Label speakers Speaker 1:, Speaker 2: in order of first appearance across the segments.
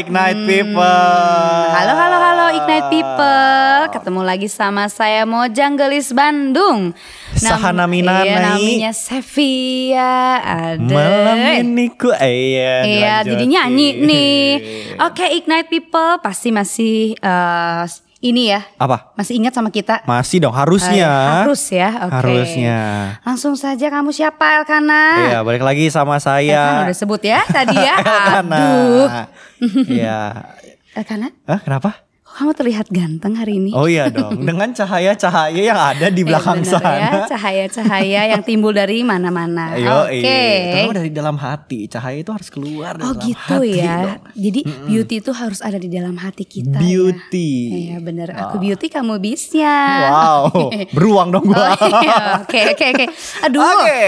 Speaker 1: Ignite People.
Speaker 2: Hmm. Halo, halo, halo Ignite People. Ketemu lagi sama saya Mojang Gelis Bandung.
Speaker 1: Sahana Minanai.
Speaker 2: Iya, namanya Sevia. Ada.
Speaker 1: Malam ini ku iya.
Speaker 2: Iya,
Speaker 1: dilanjutin.
Speaker 2: jadi nyanyi nih. Oke, Ignite People pasti masih eh, ini ya.
Speaker 1: Apa?
Speaker 2: Masih ingat sama kita?
Speaker 1: Masih dong harusnya.
Speaker 2: Harus ya, oke.
Speaker 1: Harusnya.
Speaker 2: Langsung saja kamu siapa Elkana?
Speaker 1: Iya, balik lagi sama
Speaker 2: Elkana Ah.
Speaker 1: saya.
Speaker 2: udah sebut ya tadi ya.
Speaker 1: Elkana.
Speaker 2: Aduh.
Speaker 1: Iya.
Speaker 2: Elkana,
Speaker 1: Hah, kenapa?
Speaker 2: kok kamu terlihat ganteng hari ini?
Speaker 1: Oh iya dong. Dengan cahaya-cahaya yang ada di
Speaker 2: Eh,
Speaker 1: belakang
Speaker 2: bener
Speaker 1: sana.
Speaker 2: ya, cahaya-cahaya yang timbul dari mana-mana.
Speaker 1: Ayo,
Speaker 2: Oke.
Speaker 1: Terutama iya. dari dalam hati. Cahaya itu harus keluar dari
Speaker 2: Oh
Speaker 1: dalam
Speaker 2: gitu
Speaker 1: hati
Speaker 2: ya.
Speaker 1: dong.
Speaker 2: Jadi beauty itu harus ada di dalam hati kita.
Speaker 1: Beauty. Ah.
Speaker 2: Ya. Iya bener. Aku beauty, kamu bisnya.
Speaker 1: Wow, beruang dong
Speaker 2: Oh,
Speaker 1: gua.
Speaker 2: iya. Oke oke oke. Aduh.
Speaker 1: Oke,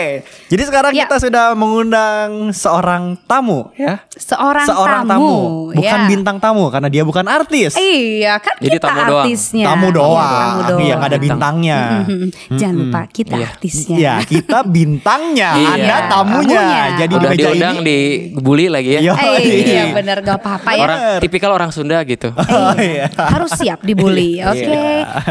Speaker 1: jadi sekarang
Speaker 2: Ya.
Speaker 1: kita sudah mengundang seorang tamu ya.
Speaker 2: Seorang,
Speaker 1: seorang tamu, bukan
Speaker 2: ya.
Speaker 1: bintang tamu karena dia bukan artis.
Speaker 2: Iya kan
Speaker 3: Jadi
Speaker 2: kita
Speaker 3: tamu doang.
Speaker 2: artisnya.
Speaker 1: Tamu
Speaker 2: Iya,
Speaker 1: doang, yang ada
Speaker 3: Bintang.
Speaker 1: bintangnya.
Speaker 2: Hmm, Jangan lupa kita
Speaker 3: Iya.
Speaker 2: artisnya.
Speaker 1: Ya, kita bintangnya,
Speaker 3: Iya.
Speaker 1: Anda tamunya.
Speaker 2: Tamunya.
Speaker 1: Jadi
Speaker 3: Udah
Speaker 1: di meja
Speaker 3: diundang
Speaker 1: ini.
Speaker 3: dibully lagi ya.
Speaker 1: Yo.
Speaker 2: Eh, iya
Speaker 3: Iya.
Speaker 2: bener gak apa-apa ya.
Speaker 3: Orang tipikal orang Sunda gitu.
Speaker 1: Oh, iya.
Speaker 2: harus siap dibully.
Speaker 3: Iya.
Speaker 2: Oke.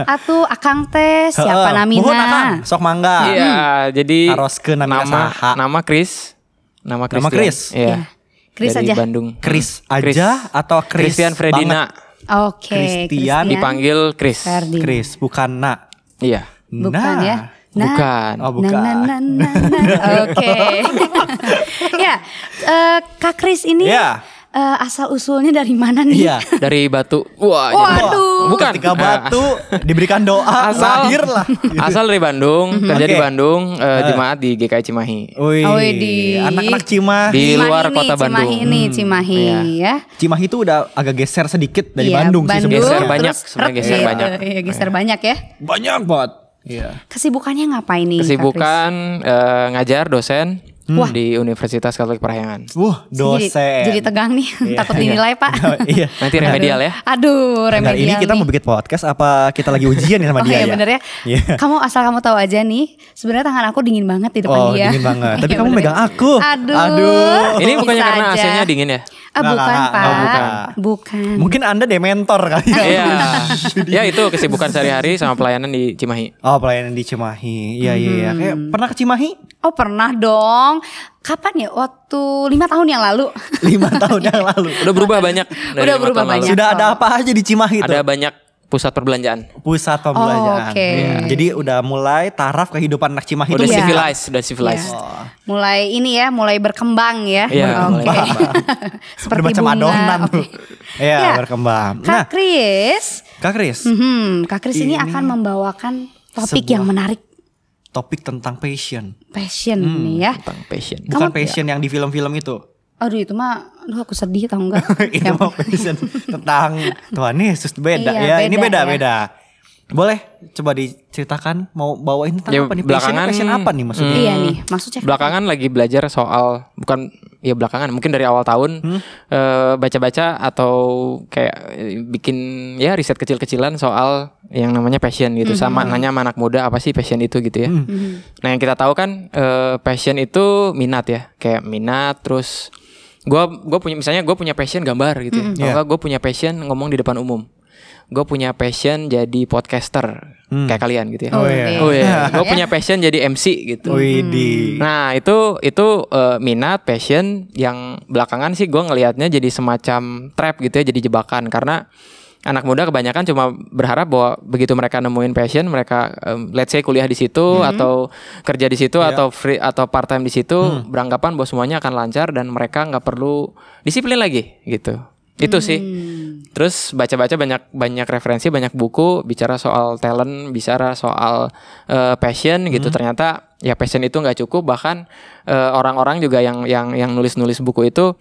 Speaker 2: Atuh akang teh siapa
Speaker 1: Heeh.
Speaker 2: namina?
Speaker 1: Mohon akan, sok mangga.
Speaker 3: Iya, jadi
Speaker 1: Taroskeun namina
Speaker 3: nama
Speaker 1: saha.
Speaker 3: nama Chris. Nama Chris.
Speaker 1: Nama Chris?
Speaker 2: Ya.
Speaker 3: Iya.
Speaker 2: Kris
Speaker 3: Dari
Speaker 2: aja.
Speaker 3: Bandung.
Speaker 1: Chris
Speaker 3: Chris.
Speaker 1: aja atau Chris
Speaker 3: Christian Fredina
Speaker 2: Oke.
Speaker 1: Christian
Speaker 3: dipanggil Chris.
Speaker 1: banget?
Speaker 2: Ferdi.
Speaker 1: Chris, bukan nak.
Speaker 3: Iya.
Speaker 2: Bukan
Speaker 1: Nah.
Speaker 2: ya. Nah,
Speaker 3: Bukan.
Speaker 1: Oh, bukan.
Speaker 2: Na, na, na, na, na. nah. Oke. ya, eh, Kak Kris ini
Speaker 1: Ya.
Speaker 2: eh, asal usulnya dari mana nih?
Speaker 1: Iya.
Speaker 3: Dari Batu. Wah, jadi-
Speaker 2: Waduh.
Speaker 3: Bukan.
Speaker 1: Ketika
Speaker 3: Ah.
Speaker 1: batu diberikan doa
Speaker 3: Asal
Speaker 1: lahirlah.
Speaker 3: Asal dari Bandung,
Speaker 2: Mhm.
Speaker 3: kerja di
Speaker 1: Oke.
Speaker 3: Bandung, eh, jemaat di GKI Cimahi.
Speaker 2: Iya,
Speaker 1: Wih,
Speaker 2: Widih.
Speaker 1: anak-anak Cimahi.
Speaker 3: Di luar
Speaker 2: ini,
Speaker 3: kota Bandung.
Speaker 2: Cimahi ini, Cimahi
Speaker 3: Iya.
Speaker 2: ya.
Speaker 1: Cimahi itu udah agak geser sedikit dari
Speaker 2: Iya,
Speaker 1: Bandung, sih
Speaker 2: Bandung,
Speaker 1: sebenarnya.
Speaker 3: Geser banyak,
Speaker 2: terus
Speaker 3: sebenarnya
Speaker 2: Red
Speaker 3: geser
Speaker 2: gitu.
Speaker 3: banyak.
Speaker 2: Iya, geser banyak ya.
Speaker 1: Banyak banget. Iya.
Speaker 2: Kesibukannya ngapain nih? Kak Kris?
Speaker 3: Kesibukan eh, ngajar dosen
Speaker 1: Hmm.
Speaker 3: di Universitas Katolik Parahyangan.
Speaker 1: Wah,
Speaker 2: Jadi-
Speaker 1: dosen.
Speaker 2: Jadi, tegang nih, takut dinilai Pak.
Speaker 1: iya.
Speaker 3: Nanti remedial ya.
Speaker 2: Aduh,
Speaker 1: Bentar,
Speaker 2: remedial
Speaker 1: ini kita
Speaker 2: nih.
Speaker 1: mau bikin podcast apa kita lagi ujian ya sama
Speaker 2: Oh
Speaker 1: dia
Speaker 2: iya
Speaker 1: ya?
Speaker 2: bener ya.
Speaker 1: Iya.
Speaker 2: Kamu asal kamu tahu aja nih, sebenarnya tangan aku dingin banget di depan
Speaker 1: Oh,
Speaker 2: dia.
Speaker 1: dingin banget. Tapi
Speaker 2: Iya,
Speaker 1: kamu
Speaker 2: bener
Speaker 1: megang
Speaker 2: ya.
Speaker 1: aku.
Speaker 2: Aduh.
Speaker 1: Aduh.
Speaker 3: Ini bukannya
Speaker 2: Oh, Bisa
Speaker 3: karena
Speaker 2: aja.
Speaker 3: AC-nya dingin ya?
Speaker 2: Ah,
Speaker 1: Nggak,
Speaker 2: bukan,
Speaker 1: nggak,
Speaker 2: Pak.
Speaker 1: nggak,
Speaker 2: bukan.
Speaker 1: bukan.
Speaker 2: bukan.
Speaker 1: Mungkin Anda dementor kali ya.
Speaker 3: Iya. ya itu kesibukan sehari-hari sama pelayanan di Cimahi.
Speaker 1: Oh, pelayanan di Cimahi. Iya, iya,
Speaker 2: Hmm.
Speaker 1: iya. Kayak pernah ke Cimahi?
Speaker 2: Oh, pernah dong. Kapan ya? Waktu lima tahun yang lalu.
Speaker 1: Lima tahun yang lalu.
Speaker 3: Udah berubah banyak. dari
Speaker 2: Udah
Speaker 3: lima
Speaker 2: berubah
Speaker 3: tahun lalu.
Speaker 2: banyak.
Speaker 1: Sudah ada apa aja di Cimahi tuh?
Speaker 3: Ada banyak pusat perbelanjaan.
Speaker 1: pusat pembelanjaan.
Speaker 2: Oh, oke.
Speaker 1: Iya. Jadi udah mulai taraf kehidupan anak Cimahi itu ya.
Speaker 3: Udah
Speaker 2: Iya.
Speaker 3: civilized, udah civilized.
Speaker 1: Oh.
Speaker 2: Mulai ini ya, mulai berkembang ya.
Speaker 3: Iya,
Speaker 2: Oke.
Speaker 3: mulai
Speaker 2: Seperti
Speaker 1: bermacam
Speaker 2: bunga.
Speaker 1: adonan
Speaker 2: Oke.
Speaker 1: tuh. Iya,
Speaker 2: Ya.
Speaker 1: berkembang. Nah,
Speaker 2: Kak Kris,
Speaker 1: Kak Kris,
Speaker 2: mhm, Kak Kris ini, akan membawakan topik
Speaker 1: sebuah-
Speaker 2: yang menarik,
Speaker 1: topik tentang passion.
Speaker 2: passion
Speaker 1: Hmm.
Speaker 2: nih ya.
Speaker 3: Tentang passion.
Speaker 1: Bukan passion yang di film-film itu.
Speaker 2: Aduh itu mah, aduh aku sedih tau Iya, enggak?
Speaker 1: itu
Speaker 2: Yang-
Speaker 1: mau passion tentang Tuhan Yesus beda.
Speaker 2: Iya,
Speaker 1: ya, ini
Speaker 2: beda ya.
Speaker 1: beda-beda. Boleh coba diceritakan mau bawain tentang
Speaker 3: Ya,
Speaker 1: apa nih passion,
Speaker 3: belakangan-
Speaker 1: passion apa nih maksudnya?
Speaker 2: Iya nih, maksudnya
Speaker 3: Belakangan lagi belajar soal bukan ya belakangan, mungkin dari awal tahun
Speaker 2: Hmm?
Speaker 3: eh, baca-baca atau kayak eh, bikin ya riset kecil-kecilan soal yang namanya passion gitu.
Speaker 2: Hmm.
Speaker 3: Sama nanya sama anak muda apa sih passion itu gitu ya. Nah, yang kita tahu kan eh, passion itu minat ya. Kayak minat terus gua gua punya misalnya gua punya passion gambar gitu
Speaker 2: Hmm.
Speaker 3: ya. Atau
Speaker 1: Iya.
Speaker 3: enggak gua punya passion ngomong di depan umum. Gue punya passion jadi podcaster kayak kalian gitu ya.
Speaker 2: Oh, iya. Oh,
Speaker 3: Oh iya, gue
Speaker 2: Ya.
Speaker 3: punya passion jadi MC gitu.
Speaker 1: Widih.
Speaker 3: Nah itu itu eh, minat passion yang belakangan sih gue ngelihatnya jadi semacam trap gitu ya jadi jebakan karena anak muda kebanyakan cuma berharap bahwa begitu mereka nemuin passion mereka em, let's say kuliah di situ atau kerja di situ atau free atau part time di situ beranggapan bahwa semuanya akan lancar dan mereka nggak perlu disiplin lagi gitu itu sih terus baca-baca banyak banyak referensi banyak buku bicara soal talent bicara soal eh, passion gitu ternyata ya passion itu nggak cukup bahkan eh, orang-orang juga yang yang yang nulis-nulis buku itu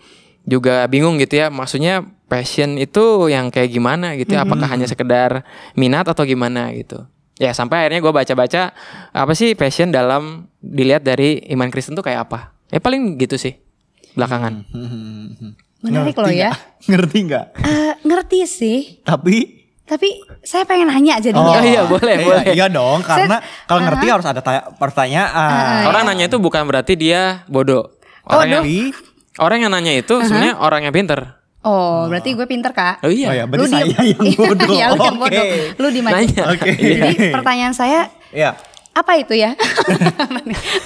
Speaker 3: juga bingung gitu ya maksudnya passion itu yang kayak gimana gitu ya apakah hanya sekedar minat atau gimana gitu ya sampai akhirnya gue baca-baca apa sih passion dalam dilihat dari iman Kristen tuh kayak apa ya paling gitu sih belakangan
Speaker 2: menarik loh ya.
Speaker 1: Ngerti nggak?
Speaker 2: Eh, ngerti sih,
Speaker 1: Tapi
Speaker 2: tapi saya pengen nanya jadinya. ya.
Speaker 3: Oh, iya, boleh,
Speaker 1: iya,
Speaker 3: boleh.
Speaker 1: Iya dong, karena kalau ngerti harus ada tanya-
Speaker 2: Ah,
Speaker 1: pertanyaan.
Speaker 2: iya.
Speaker 3: Orang nanya itu
Speaker 2: Oh,
Speaker 3: bukan berarti dia bodoh. Orang yang
Speaker 1: Tapi
Speaker 3: orang yang nanya itu sebenarnya orang yang pinter.
Speaker 2: Oh, berarti gue pinter kak.
Speaker 3: Oh iya.
Speaker 1: Oh ya, berarti
Speaker 2: diem.
Speaker 1: saya yang bodoh.
Speaker 2: Iya, lu yang
Speaker 1: Oke.
Speaker 2: bodoh. Lu di
Speaker 3: Nanya.
Speaker 1: Oke.
Speaker 2: Jadi pertanyaan saya
Speaker 1: Iya.
Speaker 2: apa itu ya?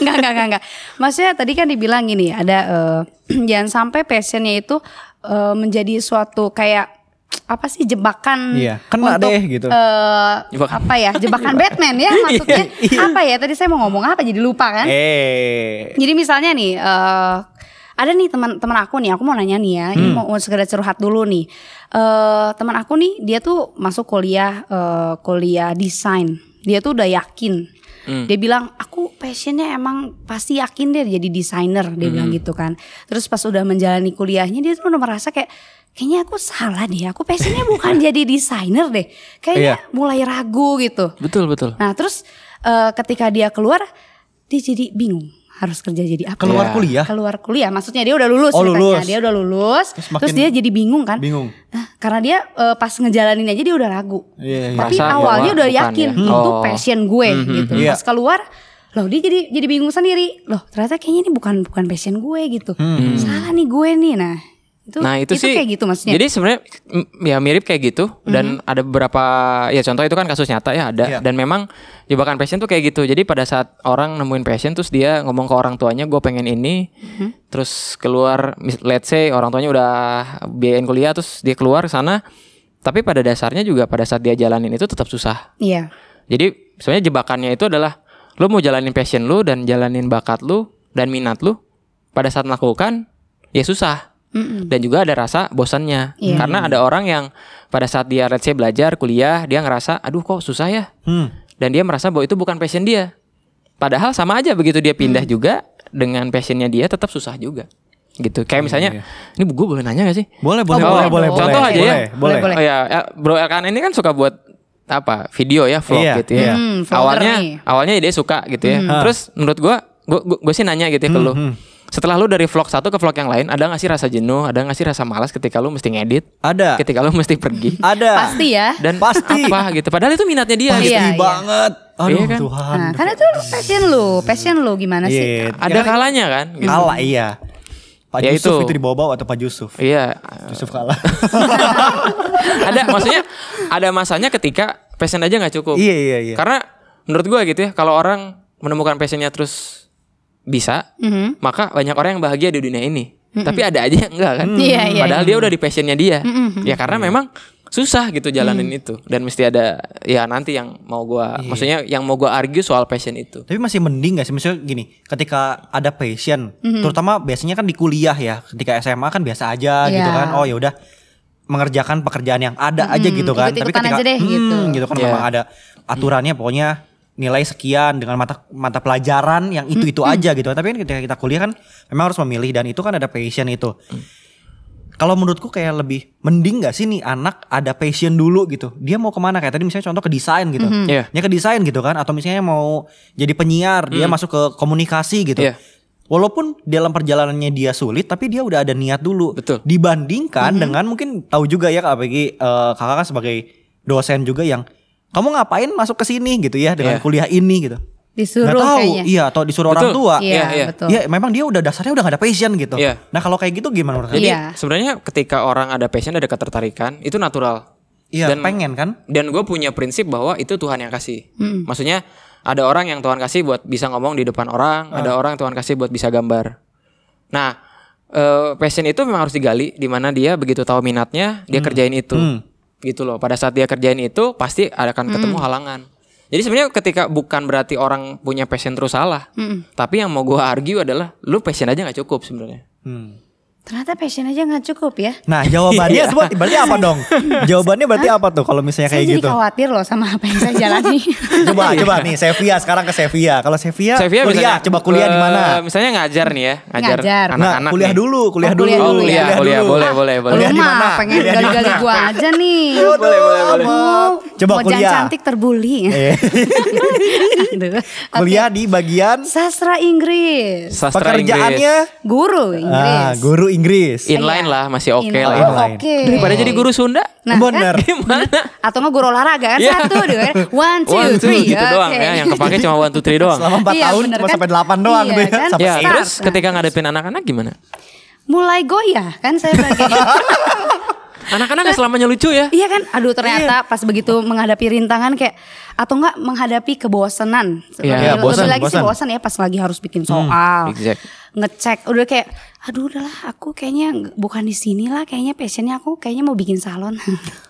Speaker 2: Enggak, enggak, enggak, enggak. Maksudnya tadi kan dibilang gini, ada eh, jangan sampai passionnya itu eh, menjadi suatu kayak apa sih jebakan
Speaker 1: Iya, kena
Speaker 2: untuk,
Speaker 1: deh, gitu.
Speaker 2: eh,
Speaker 3: Jebakan.
Speaker 2: apa ya jebakan Batman ya maksudnya
Speaker 1: Iya.
Speaker 2: apa ya tadi saya mau ngomong apa jadi lupa kan
Speaker 1: Eh.
Speaker 2: jadi misalnya nih eh ada nih teman-teman aku nih, aku mau nanya nih ya, ini mau mau sekedar curhat dulu nih. Eh teman aku nih, dia tuh masuk kuliah eh kuliah desain. Dia tuh udah yakin. Dia bilang, "Aku passionnya emang pasti yakin deh jadi desainer." Dia bilang gitu kan. Terus pas udah menjalani kuliahnya dia tuh udah merasa kayak kayaknya aku salah deh. Aku passionnya bukan jadi desainer deh. Kayaknya mulai ragu gitu.
Speaker 3: Betul betul.
Speaker 2: Nah terus eh, ketika dia keluar dia jadi bingung harus kerja jadi apa?
Speaker 1: Keluar
Speaker 3: Iya.
Speaker 1: kuliah?
Speaker 2: Keluar kuliah, maksudnya dia udah lulus,
Speaker 1: Oh,
Speaker 2: ceritanya.
Speaker 1: lulus.
Speaker 2: dia udah lulus,
Speaker 1: Terus
Speaker 2: terus,
Speaker 1: makin
Speaker 2: dia jadi bingung kan?
Speaker 1: bingung.
Speaker 2: Nah, karena dia eh, pas ngejalanin aja dia udah ragu.
Speaker 1: Iya, iya.
Speaker 2: Tapi
Speaker 3: Merasa
Speaker 2: awalnya
Speaker 3: bahwa
Speaker 2: udah
Speaker 3: bukan
Speaker 2: yakin
Speaker 3: ya.
Speaker 2: itu
Speaker 3: Oh.
Speaker 2: passion gue gitu.
Speaker 1: Iya.
Speaker 2: Pas keluar, loh dia jadi jadi bingung sendiri. Loh ternyata kayaknya ini bukan bukan passion gue gitu.
Speaker 1: Hmm,
Speaker 2: Salah nih gue nih. Nah itu
Speaker 3: nah itu, sih
Speaker 2: kayak gitu maksudnya. Mhm.
Speaker 3: jadi sebenarnya mm, ya mirip kayak gitu dan ada beberapa ya contoh itu kan kasus nyata ya ada
Speaker 1: Iya.
Speaker 3: dan memang jebakan passion tuh kayak gitu jadi pada saat orang nemuin passion terus dia ngomong ke orang tuanya gue pengen ini
Speaker 2: Mhm.
Speaker 3: terus keluar mis- let's say orang tuanya udah biayain kuliah terus dia keluar ke sana tapi pada dasarnya juga pada saat dia jalanin itu tetap susah
Speaker 2: Iya.
Speaker 3: jadi sebenarnya jebakannya itu adalah lu mau jalanin passion lu dan jalanin bakat lu dan minat lu pada saat melakukan ya susah
Speaker 2: Mm-mm.
Speaker 3: dan juga ada rasa bosannya
Speaker 2: Iya.
Speaker 3: karena ada orang yang pada saat dia let's say belajar kuliah dia ngerasa aduh kok susah ya
Speaker 1: Hmm.
Speaker 3: dan dia merasa bahwa itu bukan passion dia padahal sama aja begitu dia pindah
Speaker 2: Mm.
Speaker 3: juga dengan passionnya dia tetap susah juga gitu kayak misalnya ini gue boleh nanya gak sih
Speaker 1: Boleh, boleh,
Speaker 2: Oh,
Speaker 1: boleh,
Speaker 2: boleh
Speaker 1: boleh,
Speaker 2: dong.
Speaker 1: boleh.
Speaker 3: Contoh aja ya.
Speaker 1: Boleh, boleh.
Speaker 2: Boleh.
Speaker 3: Oh ya, ya, Bro Elkan ini kan suka buat apa? Video ya, vlog
Speaker 1: Iya,
Speaker 3: gitu ya.
Speaker 1: iya. Hmm.
Speaker 2: Hmm, vlogger
Speaker 3: awalnya
Speaker 2: nih.
Speaker 3: awalnya dia suka gitu ya. Terus menurut gua gua, gua, gua sih nanya gitu ya ke lu. Setelah lu dari vlog satu ke vlog yang lain, ada gak sih rasa jenuh, ada gak sih rasa malas ketika lu mesti ngedit,
Speaker 1: Ada.
Speaker 3: ketika lu mesti pergi?
Speaker 1: Ada.
Speaker 2: Pasti ya.
Speaker 3: Dan
Speaker 1: Iya. Pasti.
Speaker 3: apa gitu. Padahal itu minatnya dia
Speaker 1: Pasti
Speaker 3: gitu.
Speaker 2: Iya, iya.
Speaker 1: banget. Aduh,
Speaker 3: Iya kan?
Speaker 1: Tuhan.
Speaker 2: Nah, karena itu passion lu, passion lu gimana sih?
Speaker 1: Iya.
Speaker 3: Ada kalanya kan? gitu.
Speaker 1: Kalah iya. Pak
Speaker 3: Ya
Speaker 1: Yusuf
Speaker 3: itu.
Speaker 1: itu, dibawa-bawa atau Pak Yusuf?
Speaker 3: Iya.
Speaker 1: Yusuf kalah.
Speaker 3: ada maksudnya ada masanya ketika passion aja nggak cukup.
Speaker 1: Iya, iya, iya.
Speaker 3: Karena menurut gua gitu ya, kalau orang menemukan passionnya terus bisa,
Speaker 2: Mhm.
Speaker 3: maka banyak orang yang bahagia di dunia ini. Tapi ada aja yang enggak kan?
Speaker 2: Iya, iya,
Speaker 3: Padahal dia udah di passionnya dia. Ya karena memang susah gitu jalanin
Speaker 2: Mm.
Speaker 3: itu dan mesti ada ya nanti yang mau
Speaker 2: Iya.
Speaker 3: gua maksudnya yang mau gua argue soal passion itu.
Speaker 1: Tapi masih mending gak sih? Misalnya gini, ketika ada passion,
Speaker 2: Mhm.
Speaker 1: terutama biasanya kan di kuliah ya, ketika SMA kan biasa
Speaker 2: Iya.
Speaker 1: aja
Speaker 2: Mhm,
Speaker 1: gitu kan. Oh ya udah mengerjakan pekerjaan yang ada aja gitu kan. Tapi
Speaker 2: ikut-ikutan
Speaker 1: ketika
Speaker 2: aja deh,
Speaker 1: Hmm,
Speaker 2: gitu.
Speaker 1: kan
Speaker 3: Iya.
Speaker 1: memang ada aturannya pokoknya nilai sekian dengan mata mata pelajaran yang itu-itu
Speaker 2: Mhm.
Speaker 1: aja gitu. Tapi kan ketika kita kuliah kan memang harus memilih dan itu kan ada passion itu. Kalau menurutku kayak lebih mending gak sih nih anak ada passion dulu gitu. Dia mau kemana kayak tadi misalnya contoh ke desain gitu.
Speaker 2: Mhm.
Speaker 3: Iya.
Speaker 1: Dia ke desain gitu kan atau misalnya mau jadi penyiar, dia masuk ke komunikasi gitu.
Speaker 3: Hmm. Iya.
Speaker 1: Walaupun dalam perjalanannya dia sulit tapi dia udah ada niat dulu.
Speaker 3: Betul. Hmm.
Speaker 1: Dibandingkan dengan mungkin tahu juga ya Kak Peggy, eh, Kakak kan sebagai dosen juga yang kamu ngapain masuk ke sini gitu ya dengan
Speaker 3: Iya.
Speaker 1: kuliah ini gitu.
Speaker 2: Disuruh
Speaker 1: Nggak tahu,
Speaker 2: kayaknya.
Speaker 1: iya atau disuruh orang
Speaker 3: Betul.
Speaker 1: tua.
Speaker 2: Iya,
Speaker 3: Iya, iya.
Speaker 2: betul.
Speaker 1: Ya, memang dia udah dasarnya udah gak ada passion gitu.
Speaker 3: Iya.
Speaker 1: Nah, kalau kayak gitu gimana menurut Kakak?
Speaker 3: Jadi
Speaker 2: Iya.
Speaker 3: sebenarnya ketika orang ada passion ada ketertarikan itu natural.
Speaker 1: Iya,
Speaker 3: Dan-
Speaker 1: pengen kan?
Speaker 3: dan gue punya prinsip bahwa itu Tuhan yang kasih.
Speaker 1: Hmm.
Speaker 3: Maksudnya ada orang yang Tuhan kasih buat bisa ngomong di depan orang,
Speaker 1: Ah.
Speaker 3: ada orang yang Tuhan kasih buat bisa gambar. Nah, eh, passion itu memang harus digali di mana dia begitu tahu minatnya,
Speaker 1: Hmm.
Speaker 3: dia kerjain itu. Gitu loh. Pada saat dia kerjain itu pasti akan ketemu
Speaker 1: Hmm.
Speaker 3: halangan. Jadi sebenarnya ketika bukan berarti orang punya passion terus salah,
Speaker 1: Hmm.
Speaker 3: tapi yang mau gue argue adalah lu passion aja nggak cukup sebenarnya.
Speaker 1: Hmm.
Speaker 2: Ternyata passion aja nggak cukup ya.
Speaker 1: Nah,
Speaker 3: Iya.
Speaker 1: jawabannya buat- berarti apa dong? Jawabannya berarti apa tuh kalau misalnya
Speaker 2: saya
Speaker 1: kayak
Speaker 2: jadi
Speaker 1: gitu?
Speaker 2: khawatir loh sama apa yang saya jalani.
Speaker 1: Coba
Speaker 3: Iya.
Speaker 1: coba nih Sevia sekarang ke Sevia. Kalau Sevia,
Speaker 3: Saya
Speaker 1: Ya, kuliah, coba kuliah di mana?
Speaker 3: eh, Misalnya ngajar nih ya, ngajar,
Speaker 2: Ngajar. Nggak,
Speaker 3: anak-anak.
Speaker 1: Nah, kuliah
Speaker 3: nih.
Speaker 1: dulu,
Speaker 2: Oh,
Speaker 1: kuliah dulu.
Speaker 2: kuliah dulu ya.
Speaker 3: Kuliah,
Speaker 1: dulu.
Speaker 3: boleh, boleh, boleh.
Speaker 1: Kuliah
Speaker 2: Lu
Speaker 1: di mana?
Speaker 2: mah pengen
Speaker 1: Kuliah di
Speaker 2: gali-gali
Speaker 1: mana?
Speaker 2: gua aja nih.
Speaker 1: Boleh, boleh, boleh.
Speaker 2: Mau-
Speaker 1: Coba
Speaker 2: mau jangan
Speaker 1: kuliah.
Speaker 2: cantik terbuli.
Speaker 1: Eh,
Speaker 2: Aduh.
Speaker 1: kuliah di bagian
Speaker 2: Oke. Sastra Inggris.
Speaker 3: Sastra
Speaker 1: pekerjaannya
Speaker 3: Inggris.
Speaker 2: Guru
Speaker 1: ah,
Speaker 2: Inggris.
Speaker 1: guru Inggris.
Speaker 3: Inline lah masih oke
Speaker 2: Iya. Inline.
Speaker 3: lah. ya.
Speaker 2: Oh,
Speaker 1: Inline.
Speaker 2: Oke.
Speaker 3: Daripada jadi guru Sunda.
Speaker 2: Nah,
Speaker 1: Bener.
Speaker 2: kan?
Speaker 3: Gimana?
Speaker 2: Atau nggak guru olahraga kan
Speaker 3: Iya.
Speaker 2: satu dua kan? one two,
Speaker 3: One two
Speaker 2: three
Speaker 3: gitu doang
Speaker 2: Oke.
Speaker 3: ya. Yang kepake cuma one two three doang.
Speaker 1: Selama 4
Speaker 2: Iya,
Speaker 1: Oh, tahun
Speaker 2: bener
Speaker 1: cuma
Speaker 2: kan?
Speaker 1: sampai 8 doang
Speaker 2: Iya
Speaker 1: tuh ya.
Speaker 2: kan?
Speaker 1: Sampai
Speaker 3: Ya
Speaker 2: Start.
Speaker 3: terus ketika ngadepin anak-anak gimana?
Speaker 2: mulai goyah kan saya sebagai
Speaker 3: Anak-anak nggak selamanya lucu ya.
Speaker 2: Iya kan, aduh ternyata pas begitu menghadapi rintangan kayak atau enggak menghadapi kebosanan. Lebih-
Speaker 1: Iya, Hmm, bosan,
Speaker 2: lebih lagi sih
Speaker 1: bosan.
Speaker 2: bosan ya pas lagi harus bikin soal,
Speaker 3: exact.
Speaker 2: ngecek. Udah kayak, aduh udahlah, aku kayaknya nggak- bukan di sini lah, kayaknya passionnya aku kayaknya mau bikin salon.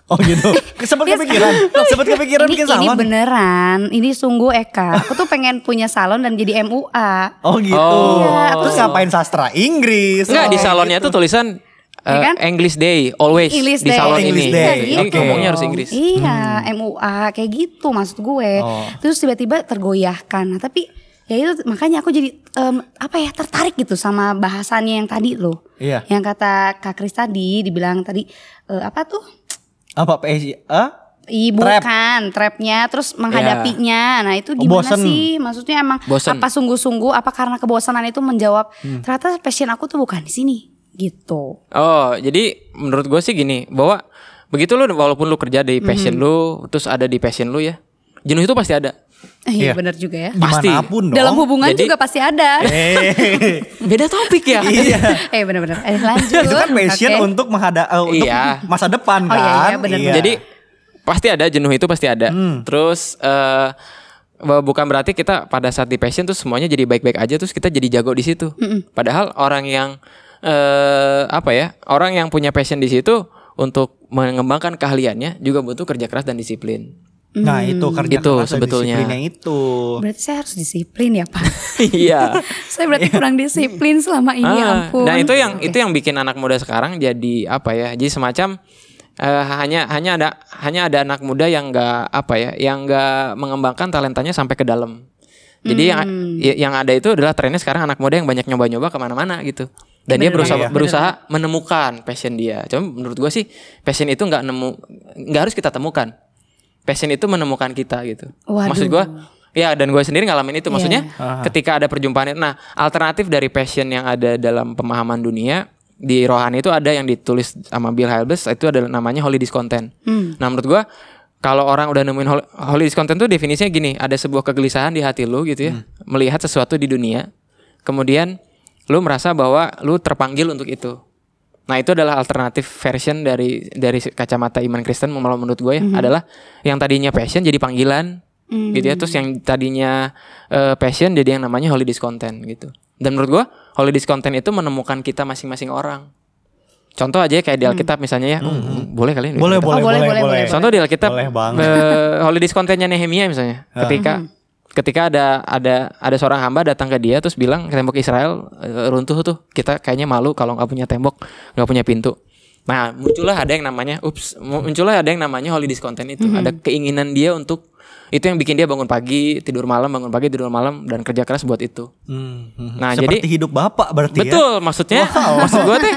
Speaker 1: Oh gitu. Sempet kepikiran. Sempet kepikiran
Speaker 2: Iya, ini,
Speaker 1: bikin
Speaker 2: ini
Speaker 1: salon.
Speaker 2: beneran, ini sungguh Eka. Aku tuh pengen punya salon dan jadi MUA.
Speaker 1: Oh gitu.
Speaker 3: Oh.
Speaker 2: Iya, aku
Speaker 1: Terus ngapain sastra Inggris?
Speaker 3: Enggak di
Speaker 1: Oh,
Speaker 3: salonnya
Speaker 1: gitu.
Speaker 3: tuh tulisan
Speaker 2: Iya
Speaker 3: eh,
Speaker 2: kan?
Speaker 3: English Day always
Speaker 2: English
Speaker 3: di
Speaker 2: Day.
Speaker 3: salon
Speaker 1: English
Speaker 3: ini.
Speaker 1: Day,
Speaker 3: Ini
Speaker 1: oke.
Speaker 3: ngomongnya harus Inggris. Hmm.
Speaker 2: Iya, MUA kayak gitu maksud gue.
Speaker 1: Oh.
Speaker 2: Terus tiba-tiba tergoyahkan. Nah, tapi ya itu makanya aku jadi em, apa ya tertarik gitu sama bahasannya yang tadi loh.
Speaker 1: Iya.
Speaker 2: Yang kata Kak Kris tadi dibilang tadi eh, apa tuh?
Speaker 1: Apa PSI? Ah?
Speaker 2: Ih,
Speaker 1: Trap.
Speaker 2: bukan trapnya terus menghadapinya. Nah, itu gimana
Speaker 1: bosen.
Speaker 2: sih? Maksudnya emang
Speaker 3: Iya. Bosen. Hmm.
Speaker 2: apa sungguh-sungguh apa karena kebosanan itu menjawab ternyata passion aku tuh bukan di sini gitu.
Speaker 3: Oh, jadi menurut gue sih gini, bahwa begitu lu walaupun lu kerja di
Speaker 2: Hmm.
Speaker 3: passion lu, terus ada di passion lu ya, jenuh itu pasti ada.
Speaker 2: Eh, Iya,
Speaker 1: Iya.
Speaker 2: benar juga ya.
Speaker 3: Pasti.
Speaker 1: Gimana pun dong.
Speaker 2: Dalam hubungan
Speaker 3: Jadi-
Speaker 2: juga pasti ada.
Speaker 1: Eh, iya.
Speaker 3: Beda topik ya.
Speaker 2: eh benar-benar. Eh, lanjut.
Speaker 1: itu kan passion
Speaker 2: Oke.
Speaker 1: untuk menghadap untuk
Speaker 3: Iya.
Speaker 1: masa depan
Speaker 2: Oh,
Speaker 1: kan.
Speaker 2: iya, iya, bener, bener.
Speaker 3: Jadi pasti ada jenuh itu pasti ada. Terus eh bahwa bukan berarti kita pada saat di passion tuh semuanya jadi baik-baik aja terus kita jadi jago di situ. Padahal orang yang eh apa ya? Orang yang punya passion di situ untuk mengembangkan keahliannya juga butuh kerja keras dan disiplin.
Speaker 1: nah itu kerja
Speaker 3: Hmm. Itu
Speaker 1: keras dan
Speaker 3: sebetulnya.
Speaker 1: disiplinnya itu.
Speaker 2: Berarti saya harus disiplin ya Pak
Speaker 3: Iya.
Speaker 2: Saya berarti kurang disiplin selama ini ya
Speaker 3: Ah,
Speaker 2: ampun
Speaker 3: Nah itu yang
Speaker 2: Oke.
Speaker 3: itu yang bikin anak muda sekarang jadi apa ya? Jadi semacam eh, hanya hanya ada hanya ada anak muda yang nggak apa ya, yang nggak mengembangkan talentanya sampai ke dalam. Jadi yang
Speaker 2: Hmm.
Speaker 3: ya- yang ada itu adalah trennya sekarang anak muda yang banyak nyoba-nyoba kemana-mana gitu. Dan dia
Speaker 2: Bener
Speaker 3: berusaha
Speaker 1: banget,
Speaker 3: berusaha menemukan passion dia. Cuma menurut gua sih passion itu nggak nemu nggak harus kita temukan. Passion itu menemukan kita gitu.
Speaker 2: Waduh.
Speaker 3: Maksud gua Ya dan gue sendiri ngalamin itu maksudnya ketika ada perjumpaan itu. Nah alternatif dari passion yang ada dalam pemahaman dunia di rohani itu ada yang ditulis sama Bill Hybels itu adalah namanya holy discontent. Nah menurut gue kalau orang udah nemuin hol- holy discontent tuh definisinya gini ada sebuah kegelisahan di hati lu gitu ya melihat sesuatu di dunia kemudian lu merasa bahwa lu terpanggil untuk itu. Nah itu adalah alternatif version dari dari kacamata iman Kristen kalau menurut gue ya adalah yang tadinya passion jadi panggilan gitu ya terus yang tadinya eh, passion jadi yang namanya holy discontent gitu dan menurut gue holy discontent itu menemukan kita masing-masing orang contoh aja ya kayak di Alkitab misalnya ya Hmm, boleh kali ini
Speaker 1: Boleh, boleh,
Speaker 2: Oh, boleh,
Speaker 1: boleh,
Speaker 2: boleh,
Speaker 1: boleh,
Speaker 2: boleh.
Speaker 3: Contoh di Alkitab
Speaker 1: Iya. Boleh banget.
Speaker 3: eh, Holy diskontennya Nehemia misalnya. Ketika ketika ada ada ada seorang hamba datang ke dia terus bilang tembok Israel eh, runtuh tuh. Kita kayaknya malu kalau nggak punya tembok, nggak punya pintu. Nah, muncullah ada yang namanya ups, mu- muncullah ada yang namanya holy discontent itu. Ada keinginan dia untuk itu yang bikin dia bangun pagi, tidur malam, bangun pagi, tidur malam dan kerja keras buat itu.
Speaker 1: Hmm, hmm.
Speaker 3: Nah,
Speaker 1: Seperti
Speaker 3: jadi-
Speaker 1: hidup bapak berarti ya.
Speaker 3: Betul, maksudnya maksud gue teh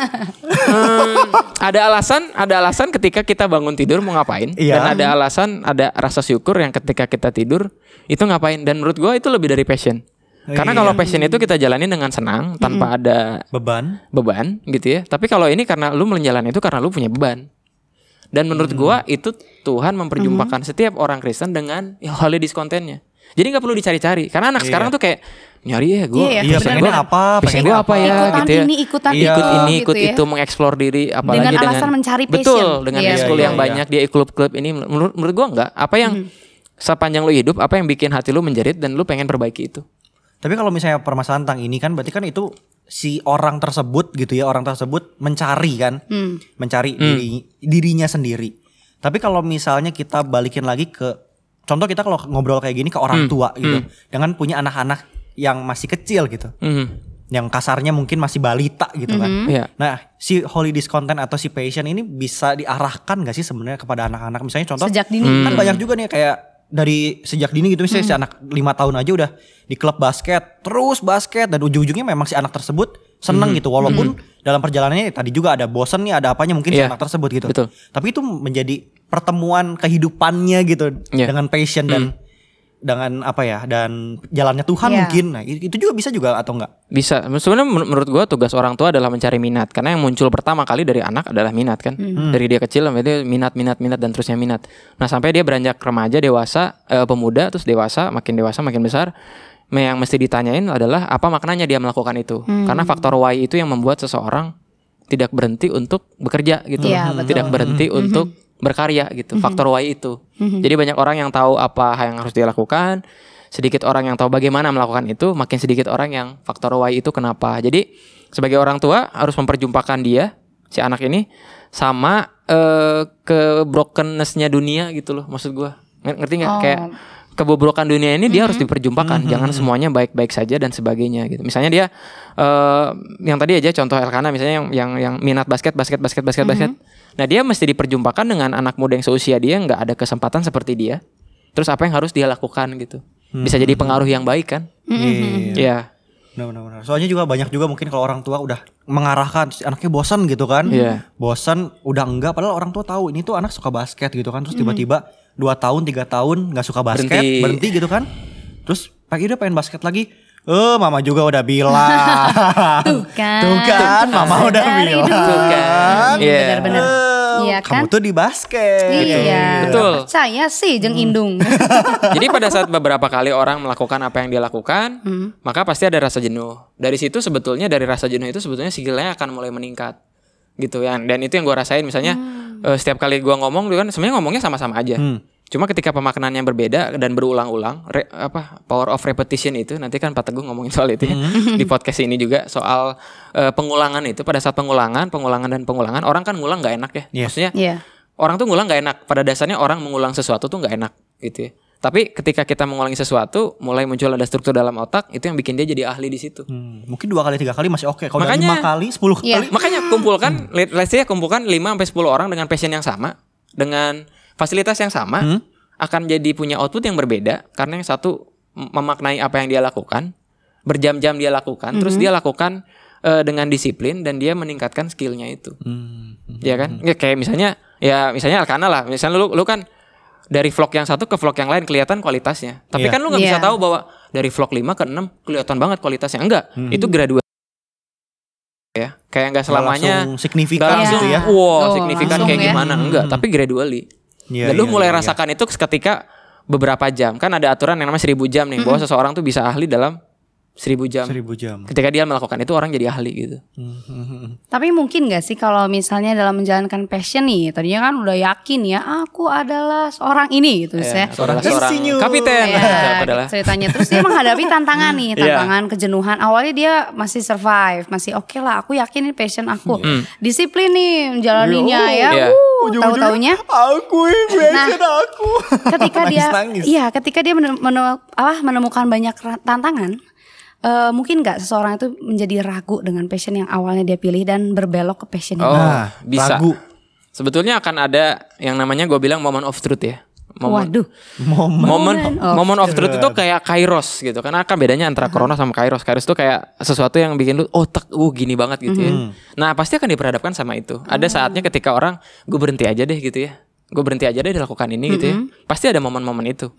Speaker 3: em, ada alasan, ada alasan ketika kita bangun tidur mau ngapain
Speaker 1: Iya.
Speaker 3: dan ada alasan, ada rasa syukur yang ketika kita tidur itu ngapain dan menurut gue itu lebih dari passion. Karena
Speaker 1: Iya.
Speaker 3: kalau passion itu kita jalani dengan senang tanpa ada
Speaker 1: Beban.
Speaker 3: beban gitu ya. Tapi kalau ini karena lu menjalani itu karena lu punya beban. Dan menurut gua itu Tuhan memperjumpakan setiap orang Kristen dengan holy diskontennya. Jadi nggak perlu dicari-cari karena anak sekarang tuh kayak nyari ya gua.
Speaker 2: Iya,
Speaker 1: Iya,
Speaker 2: benar.
Speaker 1: pengennya apa?
Speaker 3: Passion
Speaker 1: pengennya
Speaker 3: gua apa ya
Speaker 2: Ikutan
Speaker 3: gitu ya.
Speaker 2: ini, ikutan
Speaker 1: Iya.
Speaker 3: ikut
Speaker 2: itu,
Speaker 3: ini,
Speaker 2: gitu
Speaker 3: ikut
Speaker 2: ya.
Speaker 3: itu mengeksplor diri apalagi
Speaker 2: Dengan
Speaker 3: dengan,
Speaker 2: alasan mencari
Speaker 3: Betul,
Speaker 2: passion.
Speaker 3: dengan
Speaker 2: Iya, Hmm.
Speaker 3: school
Speaker 1: iya,
Speaker 3: yang
Speaker 1: iya.
Speaker 3: banyak dia klub-klub ini menurut menurut gua enggak. Apa yang sepanjang lu hidup apa yang bikin hati lu menjerit dan lu pengen perbaiki itu.
Speaker 1: Tapi kalau misalnya permasalahan tentang ini kan berarti kan itu si orang tersebut gitu ya, orang tersebut mencari kan.
Speaker 2: Hmm.
Speaker 1: Mencari
Speaker 3: Hmm.
Speaker 1: diri- dirinya sendiri. Tapi kalau misalnya kita balikin lagi ke contoh kita kalau ngobrol kayak gini ke orang
Speaker 3: Hmm.
Speaker 1: tua gitu dengan punya anak-anak yang masih kecil gitu.
Speaker 3: Mhm.
Speaker 1: Yang kasarnya mungkin masih balita gitu kan.
Speaker 2: Hmm?
Speaker 3: Iya.
Speaker 1: Nah, si holy discontent atau si passion ini bisa diarahkan gak sih sebenarnya kepada anak-anak? Misalnya contoh
Speaker 2: Sejak dini.
Speaker 1: kan banyak juga nih kayak dari sejak dini gitu misalnya si anak lima tahun aja udah di klub basket, terus basket dan ujung-ujungnya memang si anak tersebut seneng gitu walaupun dalam perjalanannya tadi juga ada bosen nih, ada apanya mungkin si
Speaker 3: Iya.
Speaker 1: anak tersebut gitu.
Speaker 3: Betul.
Speaker 1: Tapi itu menjadi pertemuan kehidupannya gitu
Speaker 3: Iya.
Speaker 1: dengan passion dan dengan apa ya dan jalannya Tuhan
Speaker 2: Iya.
Speaker 1: mungkin. Nah, itu juga bisa juga atau enggak?
Speaker 3: bisa sebenarnya men- menurut gua tugas orang tua adalah mencari minat karena yang muncul pertama kali dari anak adalah minat kan
Speaker 2: Hmm.
Speaker 3: dari dia kecil sampai dia minat minat minat dan terusnya minat nah sampai dia beranjak remaja dewasa eh, pemuda terus dewasa makin dewasa makin besar
Speaker 2: Hmm.
Speaker 3: me- yang mesti ditanyain adalah apa maknanya dia melakukan itu karena faktor why itu yang membuat seseorang tidak berhenti untuk bekerja gitu,
Speaker 2: Iya,
Speaker 3: loh.
Speaker 2: betul.
Speaker 3: tidak berhenti untuk berkarya gitu. Faktor why itu. Jadi banyak orang yang tahu apa yang harus dilakukan, sedikit orang yang tahu bagaimana melakukan itu, makin sedikit orang yang faktor why itu kenapa. Jadi sebagai orang tua harus memperjumpakan dia si anak ini sama eh, ke brokennessnya dunia gitu loh maksud gua. Ng- Ngerti nggak
Speaker 2: Oh.
Speaker 3: kayak kebobrokan dunia ini dia harus diperjumpakan jangan semuanya baik-baik saja dan sebagainya gitu misalnya dia eh, yang tadi aja contoh Elkana misalnya yang yang yang minat basket basket basket basket basket nah dia mesti diperjumpakan dengan anak muda yang seusia dia nggak ada kesempatan seperti dia terus apa yang harus dia lakukan gitu bisa jadi pengaruh yang baik kan
Speaker 1: Iya.
Speaker 3: Iya
Speaker 1: Benar, benar, benar. Soalnya juga banyak juga mungkin kalau orang tua udah mengarahkan terus anaknya bosan gitu kan.
Speaker 3: Iya.
Speaker 1: Bosan udah enggak padahal orang tua tahu ini tuh anak suka basket gitu kan. Terus tiba-tiba dua tahun, tiga tahun nggak suka basket,
Speaker 3: Berhenti.
Speaker 1: berhenti. gitu kan. Terus pagi udah pengen basket lagi. Eh, mama juga udah bilang.
Speaker 2: Tuh kan.
Speaker 1: Tuh kan, mama udah
Speaker 2: Dari dulu.
Speaker 1: bilang.
Speaker 3: Tuh kan. Iya.
Speaker 2: Benar-benar.
Speaker 1: Eh,
Speaker 2: Iya kan?
Speaker 1: Kamu tuh di basket.
Speaker 2: Iya.
Speaker 3: Betul.
Speaker 2: Saya sih jeng indung.
Speaker 3: Jadi pada saat beberapa kali orang melakukan apa yang dia lakukan, maka pasti ada rasa jenuh. Dari situ sebetulnya dari rasa jenuh itu sebetulnya skillnya akan mulai meningkat, gitu ya. Dan itu yang gua rasain misalnya eh, setiap kali gua ngomong, kan sebenarnya ngomongnya sama-sama aja. Cuma ketika pemaknaannya berbeda dan berulang-ulang, re- apa power of repetition itu nanti kan Pak Teguh ngomongin soal itu ya di podcast ini juga soal eh, pengulangan itu. Pada saat pengulangan, pengulangan dan pengulangan, orang kan ngulang nggak enak ya.
Speaker 1: Iya.
Speaker 3: Maksudnya
Speaker 2: Iya.
Speaker 3: orang tuh ngulang nggak enak. Pada dasarnya orang mengulang sesuatu tuh nggak enak gitu ya. Tapi ketika kita mengulangi sesuatu, mulai muncul ada struktur dalam otak, itu yang bikin dia jadi ahli di situ.
Speaker 1: Hmm, mungkin dua kali tiga kali masih oke. Kalau udah
Speaker 3: Makanya-
Speaker 1: lima kali, sepuluh
Speaker 2: Iya.
Speaker 1: kali.
Speaker 3: Eh, Makanya kumpulkan, let- let's say ya, kumpulkan 5 sampai 10 orang dengan passion yang sama, dengan fasilitas yang sama,
Speaker 1: Hmm?
Speaker 3: akan jadi punya output yang berbeda karena yang satu mem- memaknai apa yang dia lakukan, berjam-jam dia lakukan,
Speaker 1: Hmm.
Speaker 3: terus dia lakukan eh, dengan disiplin dan dia meningkatkan skillnya itu.
Speaker 1: Hmm.
Speaker 3: Iya kan? Ya, kayak misalnya ya misalnya Alkana lah. Misalnya lu lu kan dari vlog yang satu ke vlog yang lain kelihatan kualitasnya. Tapi
Speaker 1: Iya.
Speaker 3: kan lu nggak bisa
Speaker 2: Iya.
Speaker 3: tahu bahwa dari vlog 5 ke 6 kelihatan banget kualitasnya. Enggak, itu gradual. Ya, kayak nggak selamanya
Speaker 1: Hmm. Langsung signifikan
Speaker 3: nggak langsung
Speaker 1: gitu ya.
Speaker 3: wow,
Speaker 2: Oh,
Speaker 3: signifikan
Speaker 2: langsung
Speaker 3: kayak
Speaker 2: ya.
Speaker 3: gimana enggak, tapi gradually.
Speaker 1: Iya,
Speaker 3: Dan lu
Speaker 1: iya,
Speaker 3: mulai
Speaker 1: iya, iya.
Speaker 3: rasakan itu ketika beberapa jam. Kan ada aturan yang namanya 1000 jam nih,
Speaker 2: Hmm.
Speaker 3: bahwa seseorang tuh bisa ahli dalam 1000 jam.
Speaker 1: Seribu jam.
Speaker 3: Ketika dia melakukan itu orang jadi ahli gitu.
Speaker 2: Tapi mungkin gak sih kalau misalnya dalam menjalankan passion nih, tadinya kan udah yakin ya, aku adalah seorang ini gitu
Speaker 3: Ya,
Speaker 2: saya.
Speaker 3: seorang
Speaker 1: Terus
Speaker 3: seorang
Speaker 1: senyum.
Speaker 3: kapiten.
Speaker 2: Ya,
Speaker 3: Padahal.
Speaker 2: ceritanya terus dia menghadapi tantangan nih
Speaker 3: Iya.
Speaker 2: tantangan kejenuhan awalnya dia masih survive masih oke lah aku yakin ini passion aku disiplin nih menjalaninya ya
Speaker 3: Hmm. Iya.
Speaker 2: uh, tahu taunya
Speaker 1: aku ini aku.
Speaker 2: Nah, ketika dia
Speaker 1: Nangis-nangis.
Speaker 2: iya ketika dia menem- menem- apa, menemukan banyak ra- tantangan eh, mungkin nggak seseorang itu menjadi ragu dengan passion yang awalnya dia pilih dan berbelok ke passion yang
Speaker 3: Oh,
Speaker 1: Nah,
Speaker 3: bisa.
Speaker 1: lagu.
Speaker 3: Sebetulnya akan ada yang namanya gue bilang moment of truth ya. Moment,
Speaker 2: waduh
Speaker 1: Momen.
Speaker 3: moment,
Speaker 2: Moment
Speaker 3: of,
Speaker 2: of
Speaker 3: moment of truth itu kayak kairos gitu. Karena kan bedanya antara corona sama kairos. Kairos itu kayak sesuatu yang bikin lu oh tek, uh gini banget gitu ya. Nah, pasti akan diperhadapkan sama itu. Ada saatnya ketika orang gue berhenti aja deh gitu ya. Gue berhenti aja deh dilakukan ini gitu ya. Pasti ada momen-momen itu.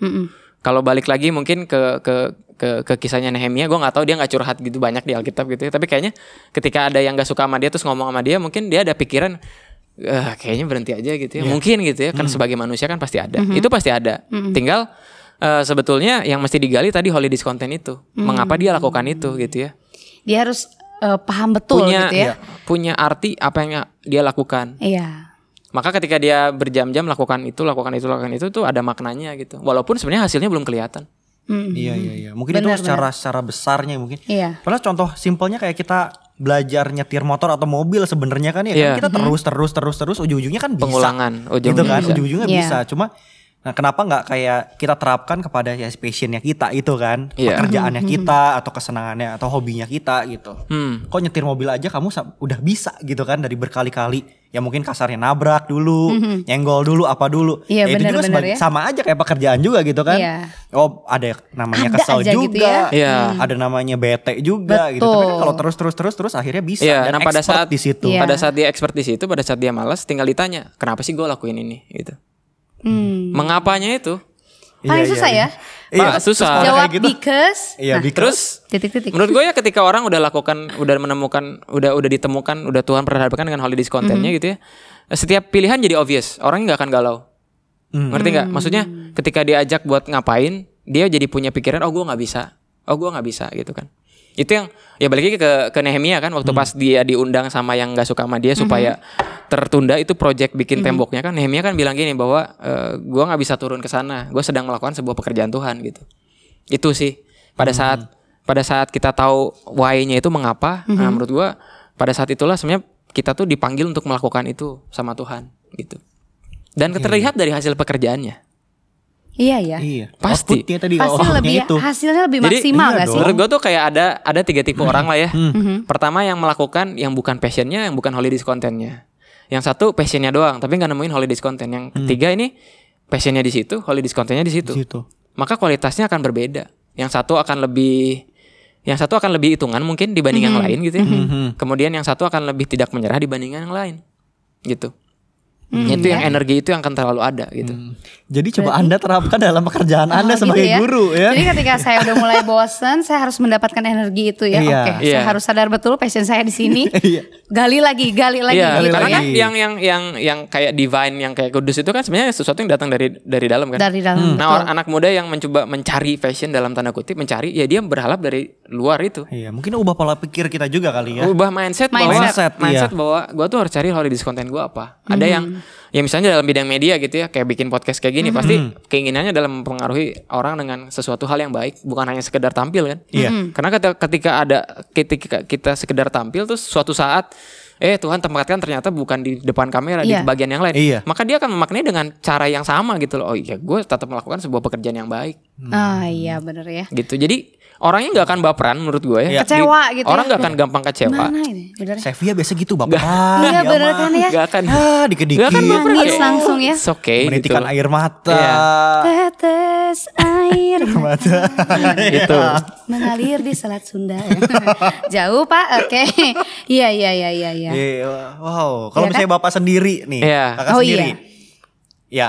Speaker 3: Kalau balik lagi mungkin ke ke ke, ke kisahnya Nehemia, gue nggak tahu dia nggak curhat gitu banyak di Alkitab gitu ya. Tapi kayaknya ketika ada yang nggak suka sama dia terus ngomong sama dia, mungkin dia ada pikiran "Eh, kayaknya berhenti aja gitu
Speaker 2: Iya.
Speaker 3: ya. Mungkin gitu ya. Kan sebagai manusia kan pasti ada. Itu pasti ada. Tinggal eh, sebetulnya yang mesti digali tadi holy discontent itu. Mengapa dia lakukan itu gitu ya?
Speaker 2: dia harus eh, paham betul
Speaker 3: punya iya.
Speaker 2: gitu ya
Speaker 3: punya arti apa yang dia lakukan.
Speaker 2: iya
Speaker 3: Maka ketika dia berjam-jam lakukan itu, lakukan itu, lakukan itu tuh ada maknanya gitu. Walaupun sebenarnya hasilnya belum kelihatan.
Speaker 2: Mm.
Speaker 1: Iya iya iya. Mungkin itu secara secara besarnya mungkin.
Speaker 2: Iya.
Speaker 1: Padahal contoh simpelnya kayak kita belajar nyetir motor atau mobil sebenarnya kan ya
Speaker 3: Iya.
Speaker 1: kan kita terus terus terus terus ujung-ujungnya kan bisa.
Speaker 3: Pengulangan, ujung
Speaker 1: gitu kan
Speaker 3: bisa.
Speaker 1: ujung-ujungnya
Speaker 2: Iya.
Speaker 1: bisa. Cuma nah kenapa nggak kayak kita terapkan kepada ya passionnya kita itu kan
Speaker 3: Iya.
Speaker 1: pekerjaannya kita atau kesenangannya atau hobinya kita gitu
Speaker 3: Hmm.
Speaker 1: kok nyetir mobil aja kamu sa- udah bisa gitu kan dari berkali-kali ya mungkin kasarnya nabrak dulu nyenggol dulu apa dulu
Speaker 2: Iya,
Speaker 1: ya itu juga
Speaker 2: benar-benar
Speaker 1: sebagai-
Speaker 2: ya.
Speaker 1: sama aja kayak pekerjaan juga gitu kan
Speaker 2: Iya.
Speaker 1: oh ada yang namanya
Speaker 2: Ada
Speaker 1: kesal
Speaker 2: aja
Speaker 1: juga
Speaker 2: gitu ya.
Speaker 3: Iya.
Speaker 1: ada namanya bete juga gitu tapi kan
Speaker 2: Betul.
Speaker 1: kalau terus terus terus terus akhirnya bisa
Speaker 3: Iya,
Speaker 1: dan
Speaker 3: nah pada
Speaker 1: expert
Speaker 3: saat
Speaker 1: di situ
Speaker 2: Iya.
Speaker 3: pada saat dia expert di situ, pada saat dia malas, tinggal ditanya, "Kenapa sih gue lakuin ini?" gitu.
Speaker 2: Hmm.
Speaker 3: Mengapanya itu?
Speaker 2: paling
Speaker 1: Iya,
Speaker 2: susah
Speaker 1: iya,
Speaker 2: ya
Speaker 1: iya.
Speaker 3: Pak,
Speaker 1: Iya,
Speaker 3: susah.
Speaker 1: terus kalau
Speaker 2: jawab
Speaker 1: kayak gitu,
Speaker 2: because
Speaker 1: iya
Speaker 2: nah,
Speaker 1: because-
Speaker 3: Terus
Speaker 2: titik-titik
Speaker 3: menurut gue ya ketika orang udah lakukan, udah menemukan, udah udah ditemukan, udah Tuhan perhadapkan dengan holy discontentnya gitu ya. Setiap pilihan jadi obvious. Orang nggak akan galau.
Speaker 1: Hmm.
Speaker 3: Ngerti nggak? Maksudnya ketika diajak buat ngapain, dia jadi punya pikiran, oh gue nggak bisa, oh gue nggak bisa gitu kan. itu yang ya balik lagi ke ke Nehemia kan waktu pas dia diundang sama yang nggak suka sama dia supaya tertunda itu project bikin temboknya kan Nehemia kan bilang gini bahwa eh, gua nggak bisa turun ke sana gue sedang melakukan sebuah pekerjaan Tuhan gitu itu sih pada saat pada saat kita tahu why-nya itu mengapa nah, menurut gua pada saat itulah sebenarnya kita tuh dipanggil untuk melakukan itu sama Tuhan gitu dan terlihat dari hasil pekerjaannya
Speaker 2: Iya ya.
Speaker 1: Iya.
Speaker 3: Pasti.
Speaker 1: Outputnya tadi oh, gitu.
Speaker 2: Pasti
Speaker 1: outputnya
Speaker 2: lebih
Speaker 1: itu.
Speaker 2: hasilnya lebih
Speaker 3: Jadi,
Speaker 2: maksimal
Speaker 1: iya
Speaker 2: gak sih?
Speaker 1: dong.
Speaker 3: Menurut gue tuh kayak ada ada tiga tipe orang lah ya. Pertama yang melakukan yang bukan passionnya, yang bukan holiday kontennya. Yang satu passionnya doang, tapi nggak nemuin holiday konten. Yang ketiga ini passionnya di situ, holiday kontennya di situ.
Speaker 1: Di situ.
Speaker 3: Maka kualitasnya akan berbeda. Yang satu akan lebih, yang satu akan lebih hitungan mungkin dibanding
Speaker 2: Mhm.
Speaker 3: yang lain gitu. ya. Kemudian yang satu akan lebih tidak menyerah dibandingkan yang lain, gitu.
Speaker 2: Mhm.
Speaker 3: itu yang
Speaker 2: Iya.
Speaker 3: energi itu yang akan terlalu ada gitu.
Speaker 1: Jadi coba Anda terapkan dalam pekerjaan
Speaker 2: Oh,
Speaker 1: Anda
Speaker 2: gitu
Speaker 1: sebagai guru ya.
Speaker 2: Jadi ketika saya udah mulai bosen, saya harus mendapatkan energi itu ya.
Speaker 1: Iya.
Speaker 2: Oke,
Speaker 3: Iya.
Speaker 2: saya harus sadar betul passion saya di sini.
Speaker 1: Iya.
Speaker 2: gali lagi, gali lagi
Speaker 3: Iya,
Speaker 2: gitu
Speaker 3: karena
Speaker 2: ya.
Speaker 3: kan yang yang yang yang kayak divine, yang kayak kudus itu kan sebenarnya sesuatu yang datang dari dari dalam kan.
Speaker 2: Dari dalam.
Speaker 3: nah,
Speaker 2: betul.
Speaker 3: orang anak muda yang mencoba mencari fashion dalam tanda kutip, mencari ya dia berharap dari luar itu.
Speaker 1: Iya, mungkin ubah pola pikir kita juga kali ya.
Speaker 3: Ubah
Speaker 1: Mindset.
Speaker 3: mindset,
Speaker 1: iya.
Speaker 3: bahwa mindset bahwa gua tuh harus cari holiday konten gua apa. Ada
Speaker 2: Hmm.
Speaker 3: yang ya misalnya dalam bidang media gitu ya, kayak bikin podcast kayak
Speaker 2: Hmm.
Speaker 3: gini pasti
Speaker 1: Hmm.
Speaker 3: keinginannya dalam mempengaruhi orang dengan sesuatu hal yang baik, bukan hanya sekedar tampil kan.
Speaker 1: Iya.
Speaker 2: Hmm.
Speaker 3: Karena ketika, ketika ada ketika kita sekedar tampil terus suatu saat eh Tuhan tempatkan ternyata bukan di depan kamera
Speaker 2: Iya.
Speaker 3: di bagian yang lain.
Speaker 1: Iya.
Speaker 3: Maka dia akan memaknai dengan cara yang sama gitu loh. Oh iya, gue tetap melakukan sebuah pekerjaan yang baik
Speaker 1: Hmm.
Speaker 2: Ah iya bener ya.
Speaker 3: gitu. Jadi orangnya nggak akan baperan menurut gue
Speaker 2: Iya.
Speaker 3: ya. Di-
Speaker 2: Kecewa gitu ya.
Speaker 3: Orang nggak akan gampang kecewa.
Speaker 2: Mana ini? Bener. ya?
Speaker 1: Sevia biasa gitu bapak.
Speaker 2: Iya bener kan ya.
Speaker 3: Nggak akan
Speaker 1: Ah, dikit-dikit.
Speaker 3: nggak akan baperan.
Speaker 2: Iya, Nangis
Speaker 3: Kayak,
Speaker 2: langsung ya.
Speaker 3: It's okay gitu.
Speaker 1: Iya. Menitikan air mata.
Speaker 3: Iya.
Speaker 2: Tetes air
Speaker 1: Mata.
Speaker 3: Gitu.
Speaker 2: mengalir di Selat Sunda. ya. Jauh pak, oke. Iya iya iya iya. iya.
Speaker 1: Iya, wow.
Speaker 2: Iya kan?
Speaker 1: Kalau misalnya bapak sendiri nih,
Speaker 3: Iya.
Speaker 1: kakak
Speaker 2: Oh,
Speaker 1: sendiri, ya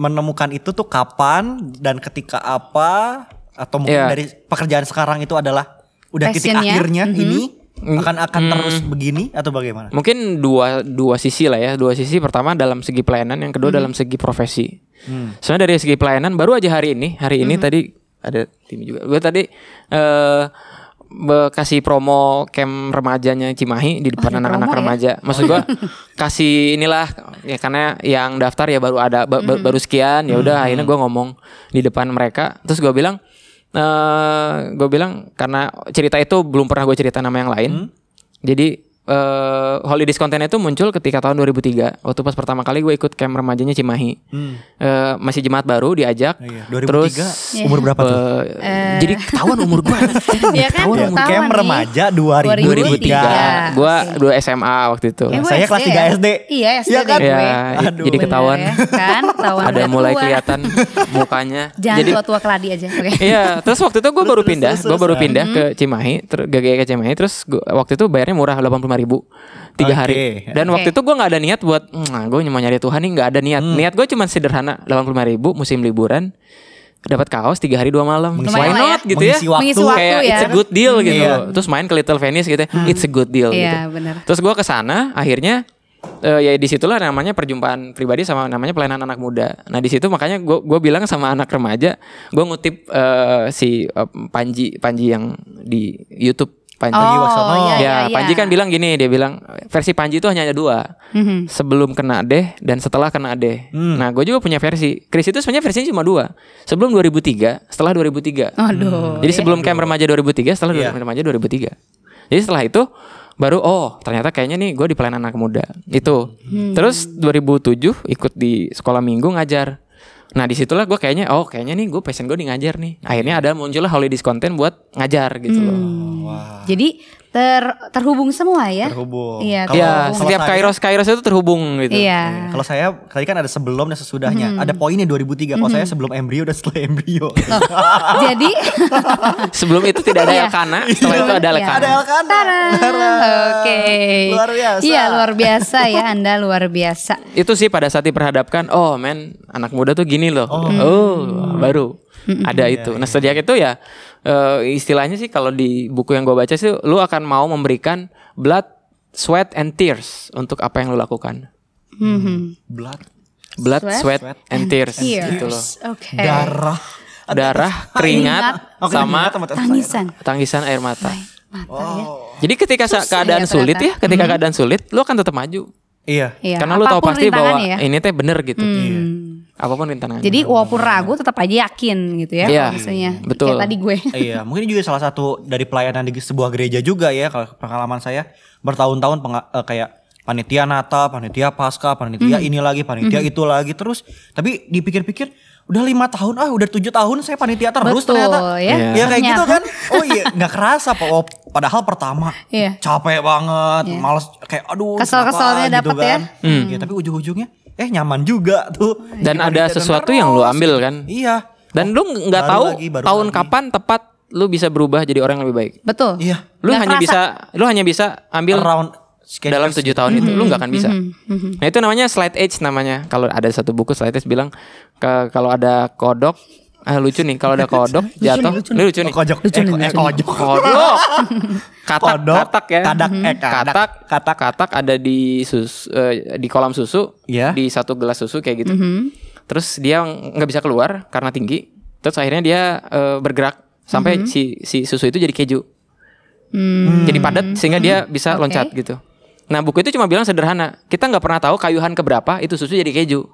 Speaker 1: menemukan itu tuh kapan dan ketika apa atau mungkin
Speaker 3: Iya.
Speaker 1: dari pekerjaan sekarang itu adalah udah titik
Speaker 2: Passionnya, Mm-hmm.
Speaker 1: akhirnya ini
Speaker 3: Mm.
Speaker 1: akan akan terus begini atau bagaimana?
Speaker 3: Mungkin dua dua sisi lah ya, dua sisi. Pertama dalam segi pelayanan, yang
Speaker 2: Hmm.
Speaker 3: kedua dalam segi profesi. Sebenarnya dari segi pelayanan baru aja hari ini, hari
Speaker 2: Hmm.
Speaker 3: ini tadi ada tim juga. Gue tadi eh be- kasih promo camp remajanya Cimahi di depan
Speaker 2: ada
Speaker 3: anak-anak
Speaker 2: promo ya?
Speaker 3: remaja. Maksud gue kasih inilah ya karena yang daftar ya baru ada ba-
Speaker 2: Hmm.
Speaker 3: ba- baru sekian ya udah akhirnya gue ngomong di depan mereka. Terus gue bilang eh gue bilang karena cerita itu belum pernah gue cerita nama yang lain.
Speaker 2: Hmm.
Speaker 3: Jadi eh holiday konten itu muncul ketika tahun 2003 waktu pas pertama kali gue ikut camp remajanya Cimahi. Eh, masih jemaat baru diajak.
Speaker 1: Iya, 2003
Speaker 3: Terus
Speaker 1: umur berapa tuh?
Speaker 2: Nah.
Speaker 3: eh, jadi ketahuan umur gue.
Speaker 2: Iya kan
Speaker 1: Iya,
Speaker 2: ketahuan
Speaker 1: camp
Speaker 2: nih.
Speaker 1: remaja 2003.
Speaker 3: 2003. Gua dua SMA waktu itu.
Speaker 2: Eh, gua
Speaker 1: Iya, Saya kelas tiga SD.
Speaker 2: Iya SD
Speaker 1: Iya kan?
Speaker 2: deh gue.
Speaker 3: Ya,
Speaker 1: Aduh.
Speaker 3: jadi
Speaker 2: Bener
Speaker 3: ketahuan
Speaker 2: ya, kan ketahuan
Speaker 3: ada
Speaker 2: udah
Speaker 3: mulai
Speaker 2: tua.
Speaker 3: kelihatan mukanya.
Speaker 2: Jangan
Speaker 3: jadi
Speaker 2: tua-tua keladi aja. Oke.
Speaker 3: Iya, terus waktu itu gue baru pindah,
Speaker 1: terus,
Speaker 3: gue
Speaker 1: terus,
Speaker 3: baru
Speaker 1: terus.
Speaker 3: pindah
Speaker 2: Hmm.
Speaker 3: ke Cimahi, ter- GGI ke Cimahi, terus gua, waktu itu bayarnya murah 85 ribu
Speaker 1: Oke.
Speaker 3: tiga
Speaker 1: ya.
Speaker 3: hari. Dan
Speaker 2: Oke.
Speaker 3: waktu itu gue nggak ada niat buat, nah gue cuma nyari Tuhan nih nggak ada niat.
Speaker 1: Hmm.
Speaker 3: Niat gue cuma sederhana 85 ribu musim liburan, dapat kaos tiga hari dua malam.
Speaker 1: Mengisi
Speaker 3: Why
Speaker 2: waktu.
Speaker 3: not
Speaker 2: Lumayan lah ya.
Speaker 3: gitu ya?
Speaker 1: Mengisi waktu.
Speaker 2: Mengisi waktu
Speaker 3: kayak
Speaker 2: ya.
Speaker 3: it's a good deal gitu
Speaker 1: Iya. Hmm.
Speaker 3: loh. Terus main ke Little Venice gitu, ya, it's a good deal gitu.
Speaker 2: Iya, benar.
Speaker 3: Terus gua ke sana akhirnya eh, ya disitulah namanya perjumpaan pribadi sama namanya pelayanan anak muda. Nah di situ makanya gue gua bilang sama anak remaja, gue ngutip eh, si eh, Panji Panji yang di YouTube Panji.
Speaker 2: Oh iya iya.
Speaker 3: ya,
Speaker 2: iya.
Speaker 3: Panji kan bilang gini, dia bilang versi Panji itu hanya ada dua,
Speaker 2: Mhm.
Speaker 3: sebelum kena deh dan setelah kena deh. Nah, gue juga punya versi. Chris itu sebenarnya versinya cuma dua, sebelum 2003, setelah 2003.
Speaker 1: Hmm.
Speaker 2: Aduh.
Speaker 3: Jadi sebelum camp remaja 2003, setelah
Speaker 1: Oh, Iya.
Speaker 3: camp remaja 2003. Jadi setelah itu baru oh ternyata kayaknya nih gue di pelayanan anak muda itu.
Speaker 1: Hmm.
Speaker 3: Terus 2007 ikut di sekolah minggu ngajar. Nah disitulah gue kayaknya oh kayaknya nih gue passion gue di ngajar nih. Akhirnya ada muncullah holiday content buat ngajar gitu loh.
Speaker 1: Hmm.
Speaker 2: Hmm. Jadi ter- terhubung semua ya.
Speaker 1: Terhubung.
Speaker 2: Iya.
Speaker 1: Kalau-
Speaker 3: Iya
Speaker 1: kalau
Speaker 3: setiap
Speaker 1: saya-
Speaker 3: kairos kairos itu terhubung gitu.
Speaker 2: Iya.
Speaker 1: Iya, Kalau saya tadi kan ada sebelum dan sesudahnya.
Speaker 2: Mm-hmm.
Speaker 1: Ada poinnya 2003. Kalau saya sebelum embrio dan setelah embrio.
Speaker 2: Oh,
Speaker 1: Iya.
Speaker 2: Jadi
Speaker 3: Sebelum itu tidak
Speaker 2: Iya.
Speaker 3: ada Elkana, setelah itu ada
Speaker 2: Iya.
Speaker 3: Elkana.
Speaker 1: ada Elkan.
Speaker 2: Oke.
Speaker 1: Luar biasa.
Speaker 2: Iya, luar biasa ya. Anda luar biasa.
Speaker 3: itu sih pada saat diperhadapkan oh men anak muda tuh gini loh oh, baru ada itu nah sejak itu ya eh, istilahnya sih kalau di buku yang gue baca sih lu akan mau memberikan blood sweat and tears untuk apa yang lu lakukan
Speaker 2: Mhm.
Speaker 1: Blood,
Speaker 3: blood
Speaker 2: Sweat,
Speaker 3: sweat, and tears, gitu loh
Speaker 2: Tears. Oke.
Speaker 1: darah,
Speaker 3: darah keringat
Speaker 1: Oke,
Speaker 3: sama
Speaker 1: keringat sama tetes air.
Speaker 2: Tangisan.
Speaker 3: tangisan air mata
Speaker 2: Mata ya.
Speaker 1: Wow.
Speaker 3: Jadi ketika sa-
Speaker 2: Susah ya
Speaker 3: keadaan
Speaker 2: ternyata.
Speaker 3: sulit ya, ketika keadaan sulit, lu akan tetap maju.
Speaker 1: Iya.
Speaker 2: Iya,
Speaker 3: Karena lu tahu
Speaker 2: apapun
Speaker 3: pasti bahwa
Speaker 2: rintangannya ya.
Speaker 3: ini teh bener gitu.
Speaker 2: Hmm.
Speaker 3: Apapun rintangannya.
Speaker 2: Jadi walaupun ragu tetap aja yakin gitu ya
Speaker 3: Iya,
Speaker 2: kalau misalnya.
Speaker 1: Hmm.
Speaker 3: betul.
Speaker 2: Kayak tadi gue.
Speaker 1: iya, mungkin juga salah satu dari pelayanan di sebuah gereja juga ya kalau pengalaman saya bertahun-tahun penga- eh, kayak panitia Natal, panitia Pasca, panitia
Speaker 2: Hmm.
Speaker 1: ini lagi, panitia itu lagi terus. Tapi dipikir-pikir udah lima tahun ah udah tujuh tahun saya panitia terus
Speaker 2: Betul,
Speaker 1: ternyata.
Speaker 2: ya.
Speaker 1: Iya
Speaker 2: Iya.
Speaker 1: kayak gitu
Speaker 2: Ternyata.
Speaker 1: kan. Oh iya nggak kerasa Pak. Oh, Padahal pertama
Speaker 2: Iya.
Speaker 1: capek banget, males kayak aduh
Speaker 2: Kesel-keselnya
Speaker 1: kenapa,
Speaker 2: dapet ya.
Speaker 1: Iya, tapi ujung-ujungnya eh nyaman juga tuh.
Speaker 3: Dan
Speaker 1: Jadi
Speaker 3: ada
Speaker 1: panitia
Speaker 3: sesuatu yang lu
Speaker 1: terus.
Speaker 3: ambil kan.
Speaker 1: Iya.
Speaker 3: Dan lu nggak
Speaker 1: baru
Speaker 3: tahu
Speaker 1: lagi, baru
Speaker 3: tahun
Speaker 1: lagi.
Speaker 3: kapan tepat lu bisa berubah jadi orang yang lebih baik.
Speaker 2: Betul.
Speaker 1: Iya.
Speaker 3: Lu
Speaker 2: Nggak
Speaker 3: hanya
Speaker 2: kerasa.
Speaker 3: bisa lu hanya bisa ambil
Speaker 1: Around
Speaker 3: Iya. dalam tujuh tahun itu lu nggak akan bisa. Nah itu namanya slide age namanya. Kalau ada satu buku slide age bilang ke kalau ada kodok ah, lucu nih kalau ada kodok jatuh ini lucu nih.
Speaker 1: Kojok, eh, ko- eh, kojok.
Speaker 3: Kodok. Katak,
Speaker 1: Kodok,
Speaker 3: katak ya.
Speaker 1: kadak,
Speaker 2: Mhm.
Speaker 1: eh, kadak,
Speaker 3: katak, katak, katak ada di sus eh, di kolam susu,
Speaker 1: Iya.
Speaker 3: di satu gelas susu kayak gitu.
Speaker 1: Mm-hmm.
Speaker 3: Terus dia nggak bisa keluar karena tinggi. Terus akhirnya dia eh, bergerak sampai
Speaker 1: Mm-hmm.
Speaker 3: si si susu itu jadi keju.
Speaker 1: Mm.
Speaker 3: Jadi padat sehingga dia
Speaker 1: Mm-hmm.
Speaker 3: bisa
Speaker 2: Oke.
Speaker 3: loncat gitu. Nah, buku itu cuma bilang sederhana, kita nggak pernah tahu kayuhan keberapa itu susu jadi keju.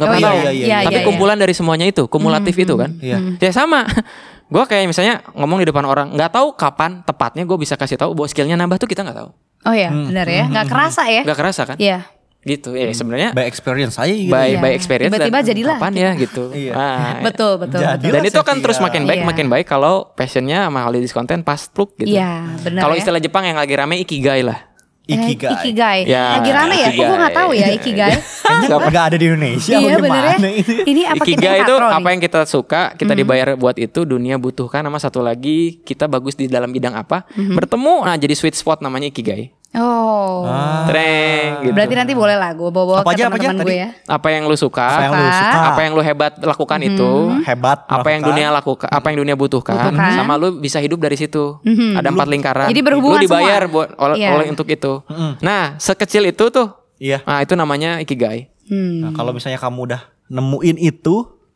Speaker 3: Nggak
Speaker 2: Oh,
Speaker 3: pernah
Speaker 1: iya,
Speaker 3: tahu.
Speaker 1: iya, iya,
Speaker 3: Tapi
Speaker 1: iya,
Speaker 3: kumpulan dari semuanya itu, kumulatif itu kan.
Speaker 1: Iya.
Speaker 3: Ya sama. Gue kayak misalnya ngomong di depan orang, nggak tahu kapan tepatnya gue bisa kasih tahu bahwa skillnya nambah tuh kita nggak tahu,
Speaker 2: Oh iya, benar ya.
Speaker 1: Hmm.
Speaker 2: Nggak kerasa ya.
Speaker 3: Hmm. nggak kerasa kan?
Speaker 2: Iya.
Speaker 3: Gitu. Ya sebenarnya
Speaker 1: By experience saya Hmm. gitu.
Speaker 3: by
Speaker 2: Iya.
Speaker 3: by experience
Speaker 2: Tiba-tiba
Speaker 3: dan
Speaker 2: jadilah
Speaker 3: kapan ya gitu.
Speaker 1: Iya.
Speaker 3: Ah,
Speaker 2: Betul, betul.
Speaker 1: Jadi.
Speaker 2: betul.
Speaker 3: Dan itu akan
Speaker 1: Iya.
Speaker 3: terus makin baik,
Speaker 2: Iya.
Speaker 3: makin baik kalau passionnya sama holidays content pas plug gitu.
Speaker 2: Iya, benar
Speaker 3: Kalau
Speaker 2: ya.
Speaker 3: istilah Jepang yang lagi rame ikigai lah.
Speaker 2: Eh,
Speaker 1: Ikigai.
Speaker 2: Ikigai.
Speaker 3: Ya,
Speaker 2: Lagi rame ya? Kok gue nggak tahu ya
Speaker 3: ikigai.
Speaker 2: Ikigai.
Speaker 1: Kayaknya nggak ada di Indonesia.
Speaker 2: iya
Speaker 1: apa
Speaker 2: bener ya.
Speaker 1: gimana itu?
Speaker 2: Ini apa
Speaker 3: Ikigai
Speaker 2: kita katro
Speaker 3: itu apa
Speaker 2: nih?
Speaker 3: ya?
Speaker 2: Mm-hmm.
Speaker 3: yang kita suka, kita dibayar buat itu, dunia butuhkan sama satu lagi kita bagus di dalam bidang apa,
Speaker 2: Mm-hmm.
Speaker 3: bertemu nah jadi sweet spot namanya ikigai.
Speaker 2: Oh.
Speaker 3: Treng gitu.
Speaker 2: Berarti nanti boleh lah gue bawa-bawa
Speaker 1: Ah.
Speaker 2: ke
Speaker 1: Apa aja, apa aja
Speaker 2: teman-teman gue
Speaker 1: tadi?
Speaker 2: ya.
Speaker 3: apa yang lu suka,
Speaker 1: Apa yang lu suka?
Speaker 3: apa yang lu hebat lakukan
Speaker 2: Mm-hmm.
Speaker 3: itu,
Speaker 2: Mhm.
Speaker 1: Hebat.
Speaker 3: apa yang dunia lakukan, apa yang dunia butuhkan,
Speaker 2: Butuhkan.
Speaker 3: sama lu bisa hidup dari situ. Ada empat lingkaran.
Speaker 2: Mhm. Jadi berhubungan
Speaker 3: lu dibayar
Speaker 2: semua.
Speaker 3: buat oleh
Speaker 2: Iya.
Speaker 3: oleh untuk itu. Nah, sekecil itu tuh.
Speaker 1: Iya.
Speaker 3: Nah, itu namanya ikigai.
Speaker 2: Hmm.
Speaker 1: Nah, kalau misalnya kamu udah nemuin itu,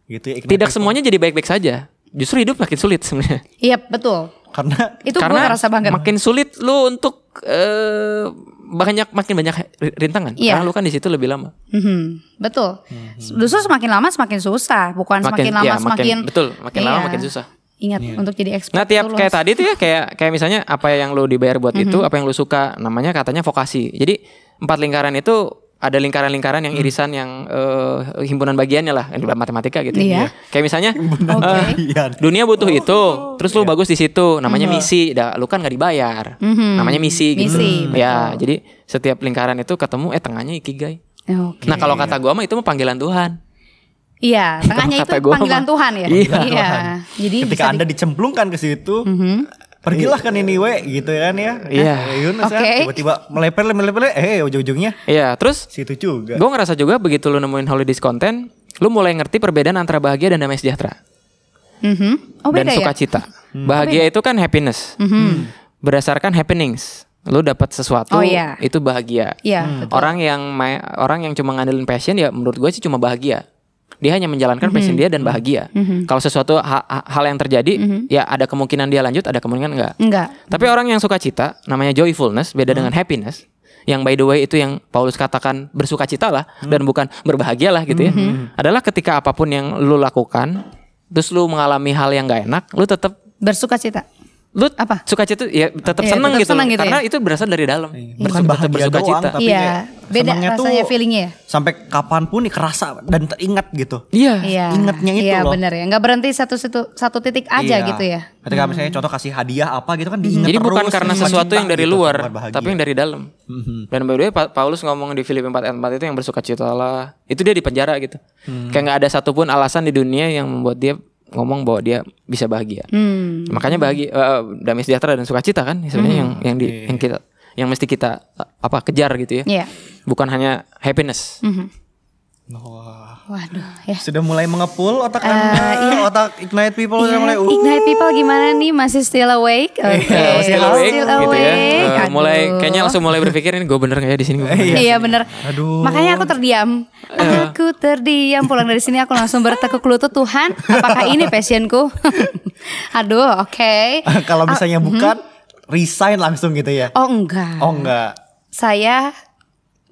Speaker 1: gitu ya.
Speaker 3: Tidak
Speaker 1: ignite-
Speaker 3: semuanya jadi baik-baik saja. Justru hidup makin sulit sebenarnya.
Speaker 2: Iya betul.
Speaker 1: Karena
Speaker 2: Itu gue
Speaker 3: karena
Speaker 2: ngerasa banget.
Speaker 3: makin sulit lu untuk eh, banyak makin banyak rintangan
Speaker 2: Iya.
Speaker 3: karena lu kan di situ lebih lama
Speaker 2: Mhm, betul.
Speaker 1: Hmm.
Speaker 2: Justru semakin lama semakin susah, bukan
Speaker 3: Makin-
Speaker 2: semakin lama
Speaker 3: iya, makin-
Speaker 2: semakin Iya.
Speaker 3: betul, makin lama makin susah.
Speaker 2: Ingat
Speaker 1: Iya.
Speaker 2: untuk jadi expert.
Speaker 3: nah tiap
Speaker 2: tuh lu
Speaker 3: kayak
Speaker 2: harus-
Speaker 3: tadi tuh ya kayak kayak misalnya apa yang lu dibayar buat itu
Speaker 2: Mm-hmm.
Speaker 3: apa yang lu suka namanya katanya vokasi jadi empat lingkaran itu ada lingkaran-lingkaran
Speaker 2: Mm.
Speaker 3: yang irisan yang eh, himpunan bagiannya lah yang dalam matematika gitu
Speaker 2: Iya. Oh,
Speaker 3: kayak misalnya
Speaker 2: Oke.
Speaker 3: eh,
Speaker 1: iya.
Speaker 3: dunia butuh itu terus
Speaker 2: iya.
Speaker 3: lu bagus di situ namanya
Speaker 2: Mm-hmm.
Speaker 3: misi dah lu kan nggak dibayar namanya misi gitu
Speaker 2: Misi,
Speaker 3: ya jadi setiap lingkaran itu ketemu eh tengahnya ikigai
Speaker 2: Oke.
Speaker 3: Nah kalau kata gua mah itu mah panggilan Tuhan.
Speaker 2: Iya, tengahnya itu
Speaker 3: kata gua
Speaker 2: panggilan
Speaker 3: mah.
Speaker 2: Tuhan ya.
Speaker 3: Iya.
Speaker 2: Jadi
Speaker 1: ketika
Speaker 2: bisa Mhm.
Speaker 1: anda dicemplungkan ke situ, pergilah kan ini we, gitu kan ya.
Speaker 3: Iya.
Speaker 1: Eh, Yunus ya,
Speaker 2: Oke.
Speaker 1: Tiba-tiba meleper, meleper, eh ujung-ujungnya
Speaker 3: Iya, terus
Speaker 1: situ juga.
Speaker 3: gua ngerasa juga begitu lu nemuin holidays content, lu mulai ngerti perbedaan antara bahagia dan damai sejahtera
Speaker 2: di- Mhm. Oh
Speaker 3: dan
Speaker 2: beda ya. Oh, Mhm.
Speaker 3: sukacita. Bahagia itu kan happiness. Berdasarkan happenings, lu dapat sesuatu
Speaker 2: Oh, iya.
Speaker 3: itu bahagia.
Speaker 2: Iya,
Speaker 1: Hmm.
Speaker 2: betul.
Speaker 3: Orang yang ma- orang yang cuma ngandelin passion ya menurut gue sih cuma bahagia. Dia hanya menjalankan
Speaker 2: Mhm.
Speaker 3: passion dia dan bahagia. Kalau sesuatu ha- ha- hal yang terjadi,
Speaker 2: Mhm.
Speaker 3: ya ada kemungkinan dia lanjut, ada kemungkinan enggak.
Speaker 2: Enggak.
Speaker 3: Tapi orang yang suka cita namanya joyfulness beda
Speaker 2: Hmm.
Speaker 3: dengan happiness. Yang by the way itu yang Paulus katakan bersukacita lah
Speaker 2: Hmm.
Speaker 3: dan bukan berbahagialah gitu ya. Adalah ketika apapun yang lu lakukan terus lu mengalami hal yang gak enak, lu tetap
Speaker 2: Bersukacita.
Speaker 3: lu
Speaker 2: Apa?
Speaker 3: sukacita ya tetap
Speaker 2: Iya,
Speaker 3: senang
Speaker 2: tetap
Speaker 3: gitu.
Speaker 2: senang gitu
Speaker 3: Karena itu berasal dari dalam.
Speaker 1: Bukan
Speaker 3: Bersuka-
Speaker 1: bahagia
Speaker 3: bersuka
Speaker 1: doang,
Speaker 3: cita.
Speaker 1: tapi
Speaker 2: Iya,
Speaker 1: kayak
Speaker 2: beda
Speaker 1: senangnya tuh
Speaker 2: rasanya, feelingnya ya.
Speaker 1: Sampai kapanpun nih kerasa dan teringat gitu.
Speaker 3: Iya.
Speaker 2: Iya.
Speaker 1: Ingatnya itu
Speaker 2: Iya,
Speaker 1: loh.
Speaker 2: benar ya. Enggak berhenti satu situ satu titik aja
Speaker 1: Iya.
Speaker 2: gitu ya. Hmm.
Speaker 1: Ketika misalnya contoh kasih hadiah apa gitu kan diingat
Speaker 3: Jadi
Speaker 1: terus.
Speaker 3: bukan karena
Speaker 1: suka
Speaker 3: sesuatu yang
Speaker 1: cita
Speaker 3: dari
Speaker 1: gitu,
Speaker 3: luar,
Speaker 1: bukan bahagia. Mm-hmm.
Speaker 3: tapi yang dari dalam. Dan by the way, Pa- Paulus ngomong di Filipi 4 ayat 4 itu yang bersuka cita lah. Itu dia di penjara gitu.
Speaker 1: Mm-hmm.
Speaker 3: Kayak nggak ada satupun alasan di dunia yang membuat dia ngomong bahwa dia bisa bahagia.
Speaker 2: Hmm.
Speaker 3: Makanya bahagia, eh, damai sejahtera dan sukacita kan sebenarnya
Speaker 2: Mm.
Speaker 3: yang yang di
Speaker 1: Iya.
Speaker 3: yang kita yang mesti kita eh, apa kejar gitu ya.
Speaker 2: Iya.
Speaker 3: Bukan hanya happiness.
Speaker 2: Mhm.
Speaker 1: Wah.
Speaker 2: Waduh, ya.
Speaker 1: Sudah mulai mengepul otak Anda, Iya, otak ignite people
Speaker 2: Eh,
Speaker 1: sudah
Speaker 2: Iya,
Speaker 1: mulai. uh. Iya,
Speaker 2: Ignite people gimana nih? Masih still awake? Oke.
Speaker 3: Eh, still awake, gitu ya. Eh,
Speaker 2: Iya, awake.
Speaker 3: mulai
Speaker 2: Aduh.
Speaker 3: kayaknya langsung mulai berpikir ini gue bener gak ya di sini gue.
Speaker 2: Iya, bener.
Speaker 1: Aduh. Iya.
Speaker 2: Makanya aku terdiam. Aku terdiam pulang dari sini aku langsung bertekuk lutut Tuhan. Apakah ini passionku? Aduh, oke. Ah, hmm.
Speaker 1: Kalau misalnya bukan resign langsung gitu ya?
Speaker 2: Oh enggak.
Speaker 1: Oh enggak.
Speaker 2: Saya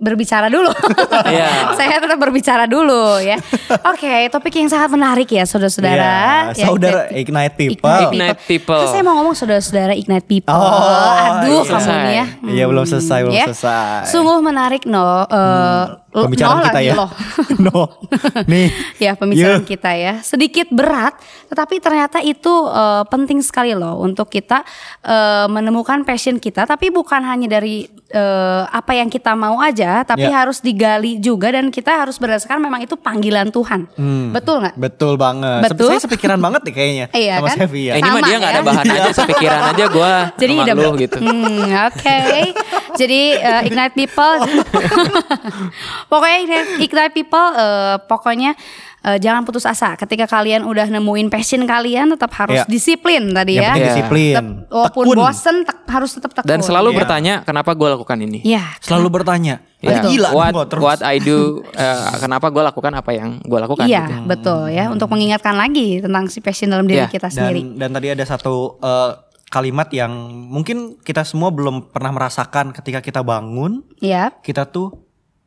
Speaker 2: berbicara dulu.
Speaker 3: Iya.
Speaker 2: Saya tetap berbicara dulu ya. Oke, topik yang sangat menarik ya saudara-saudara. Ya,
Speaker 1: Iya, saudara
Speaker 2: Ignite-
Speaker 1: Ignite People.
Speaker 3: Ignite People.
Speaker 2: Terus saya mau ngomong saudara-saudara Ignite People.
Speaker 1: Oh,
Speaker 2: Aduh,
Speaker 1: iya.
Speaker 2: kamu nih ya.
Speaker 1: Selesai. Iya, belum selesai, belum selesai.
Speaker 2: Sungguh menarik no. Eh, lo- no
Speaker 1: Pembicaraan kita
Speaker 2: lagi
Speaker 1: ya.
Speaker 2: loh.
Speaker 1: no. Nih.
Speaker 2: ya pembicaraan
Speaker 1: Yuh.
Speaker 2: kita ya sedikit berat tetapi ternyata itu eh, penting sekali loh untuk kita eh, menemukan passion kita tapi bukan hanya dari eh, apa yang kita mau aja tapi
Speaker 1: Ya.
Speaker 2: harus digali juga dan kita harus berdasarkan memang itu panggilan Tuhan betul nggak
Speaker 1: Betul banget.
Speaker 2: Betul.
Speaker 1: Saya sepikiran banget nih kayaknya
Speaker 2: Iya
Speaker 1: sama
Speaker 2: kan?
Speaker 1: Sevi ya.
Speaker 3: Eh, ini mah
Speaker 2: Sama
Speaker 3: dia nggak ada
Speaker 2: ya.
Speaker 3: bahan aja, sepikiran aja gue
Speaker 2: jadi
Speaker 3: sama
Speaker 2: udah
Speaker 3: lu
Speaker 2: ber-
Speaker 3: gitu.
Speaker 2: Hmm, oke jadi eh, ignite people pokoknya ignite, Ignite people eh, pokoknya eh, jangan putus asa ketika kalian udah nemuin passion kalian tetap harus
Speaker 1: Iya.
Speaker 2: disiplin tadi
Speaker 1: Yang
Speaker 2: ya
Speaker 1: penting
Speaker 3: Iya.
Speaker 1: disiplin.
Speaker 2: Tetap, walaupun
Speaker 1: Tekun.
Speaker 2: bosen tek- harus tetap tekun
Speaker 3: Dan selalu
Speaker 1: Iya.
Speaker 3: bertanya kenapa gue lakukan ini.
Speaker 2: ya
Speaker 1: selalu bertanya.
Speaker 3: Ya,
Speaker 1: Lagi gila
Speaker 3: what,
Speaker 1: gua terus.
Speaker 3: what I do, eh, kenapa gue lakukan apa yang gue lakukan
Speaker 2: iya
Speaker 1: Hmm,
Speaker 3: gitu.
Speaker 2: betul ya untuk mengingatkan lagi tentang si passion dalam diri
Speaker 3: Iya.
Speaker 2: kita sendiri
Speaker 1: dan dan tadi ada satu eh, kalimat yang mungkin kita semua belum pernah merasakan ketika kita bangun,
Speaker 2: ya
Speaker 1: kita tuh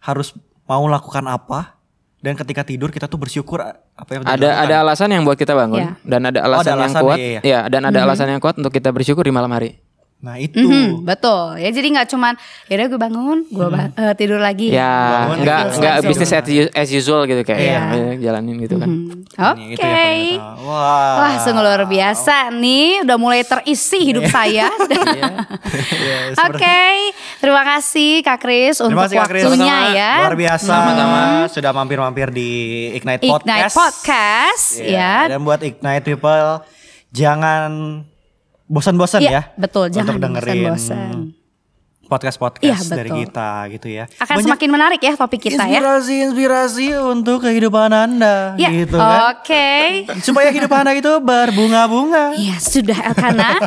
Speaker 1: harus mau lakukan apa dan ketika tidur kita tuh bersyukur apa yang udah
Speaker 3: Ada
Speaker 1: dilakukan.
Speaker 3: ada alasan yang buat kita bangun
Speaker 2: Iya.
Speaker 3: dan ada alasan, yang
Speaker 1: alasan,
Speaker 3: kuat.
Speaker 1: iya, iya.
Speaker 3: Ya, dan ada alasan yang kuat untuk kita bersyukur di malam hari.
Speaker 1: Nah, itu.
Speaker 2: Mhm, betul ya jadi nggak cuman yaudah gue bangun gue ba- eh, tidur lagi
Speaker 1: Hmm.
Speaker 3: Ya,
Speaker 1: Iya. Bangun,
Speaker 3: nggak
Speaker 1: tidur,
Speaker 3: nggak
Speaker 2: langsung.
Speaker 3: bisnis ya. as, u- as usual gitu kayak
Speaker 2: Iya.
Speaker 3: ya, jalanin gitu kan.
Speaker 2: Hmm, oke
Speaker 1: Ini, Iya, itu yang paling utama. Wah.
Speaker 2: Wah, sungguh luar biasa nih, udah mulai terisi
Speaker 1: Iya.
Speaker 2: hidup saya.
Speaker 1: Yes,
Speaker 2: Oke, terima kasih Kak Kris untuk
Speaker 1: kasih, Kak Kris.
Speaker 2: waktunya
Speaker 3: Sama-sama.
Speaker 2: ya.
Speaker 1: Luar biasa. Sama-sama sudah mampir-mampir di Ignite Podcast.
Speaker 2: Ignite Podcast,
Speaker 1: Iya,
Speaker 2: ya.
Speaker 1: Dan buat Ignite People jangan bosan-bosan
Speaker 2: Iya,
Speaker 1: ya.
Speaker 2: betul, jangan
Speaker 1: untuk dengerin
Speaker 2: bosan-bosan.
Speaker 1: podcast-podcast
Speaker 2: Iya, betul.
Speaker 1: dari kita gitu ya.
Speaker 2: Akan
Speaker 1: Banyak
Speaker 2: semakin menarik ya topik kita ya.
Speaker 1: Inspirasi-inspirasi untuk kehidupan Anda
Speaker 2: Ya,
Speaker 1: gitu kan.
Speaker 2: oke.
Speaker 1: Supaya kehidupan Anda itu berbunga-bunga.
Speaker 2: Ya sudah Elkana.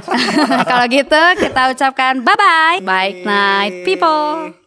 Speaker 2: Kalau gitu kita ucapkan bye bye. Bye night people.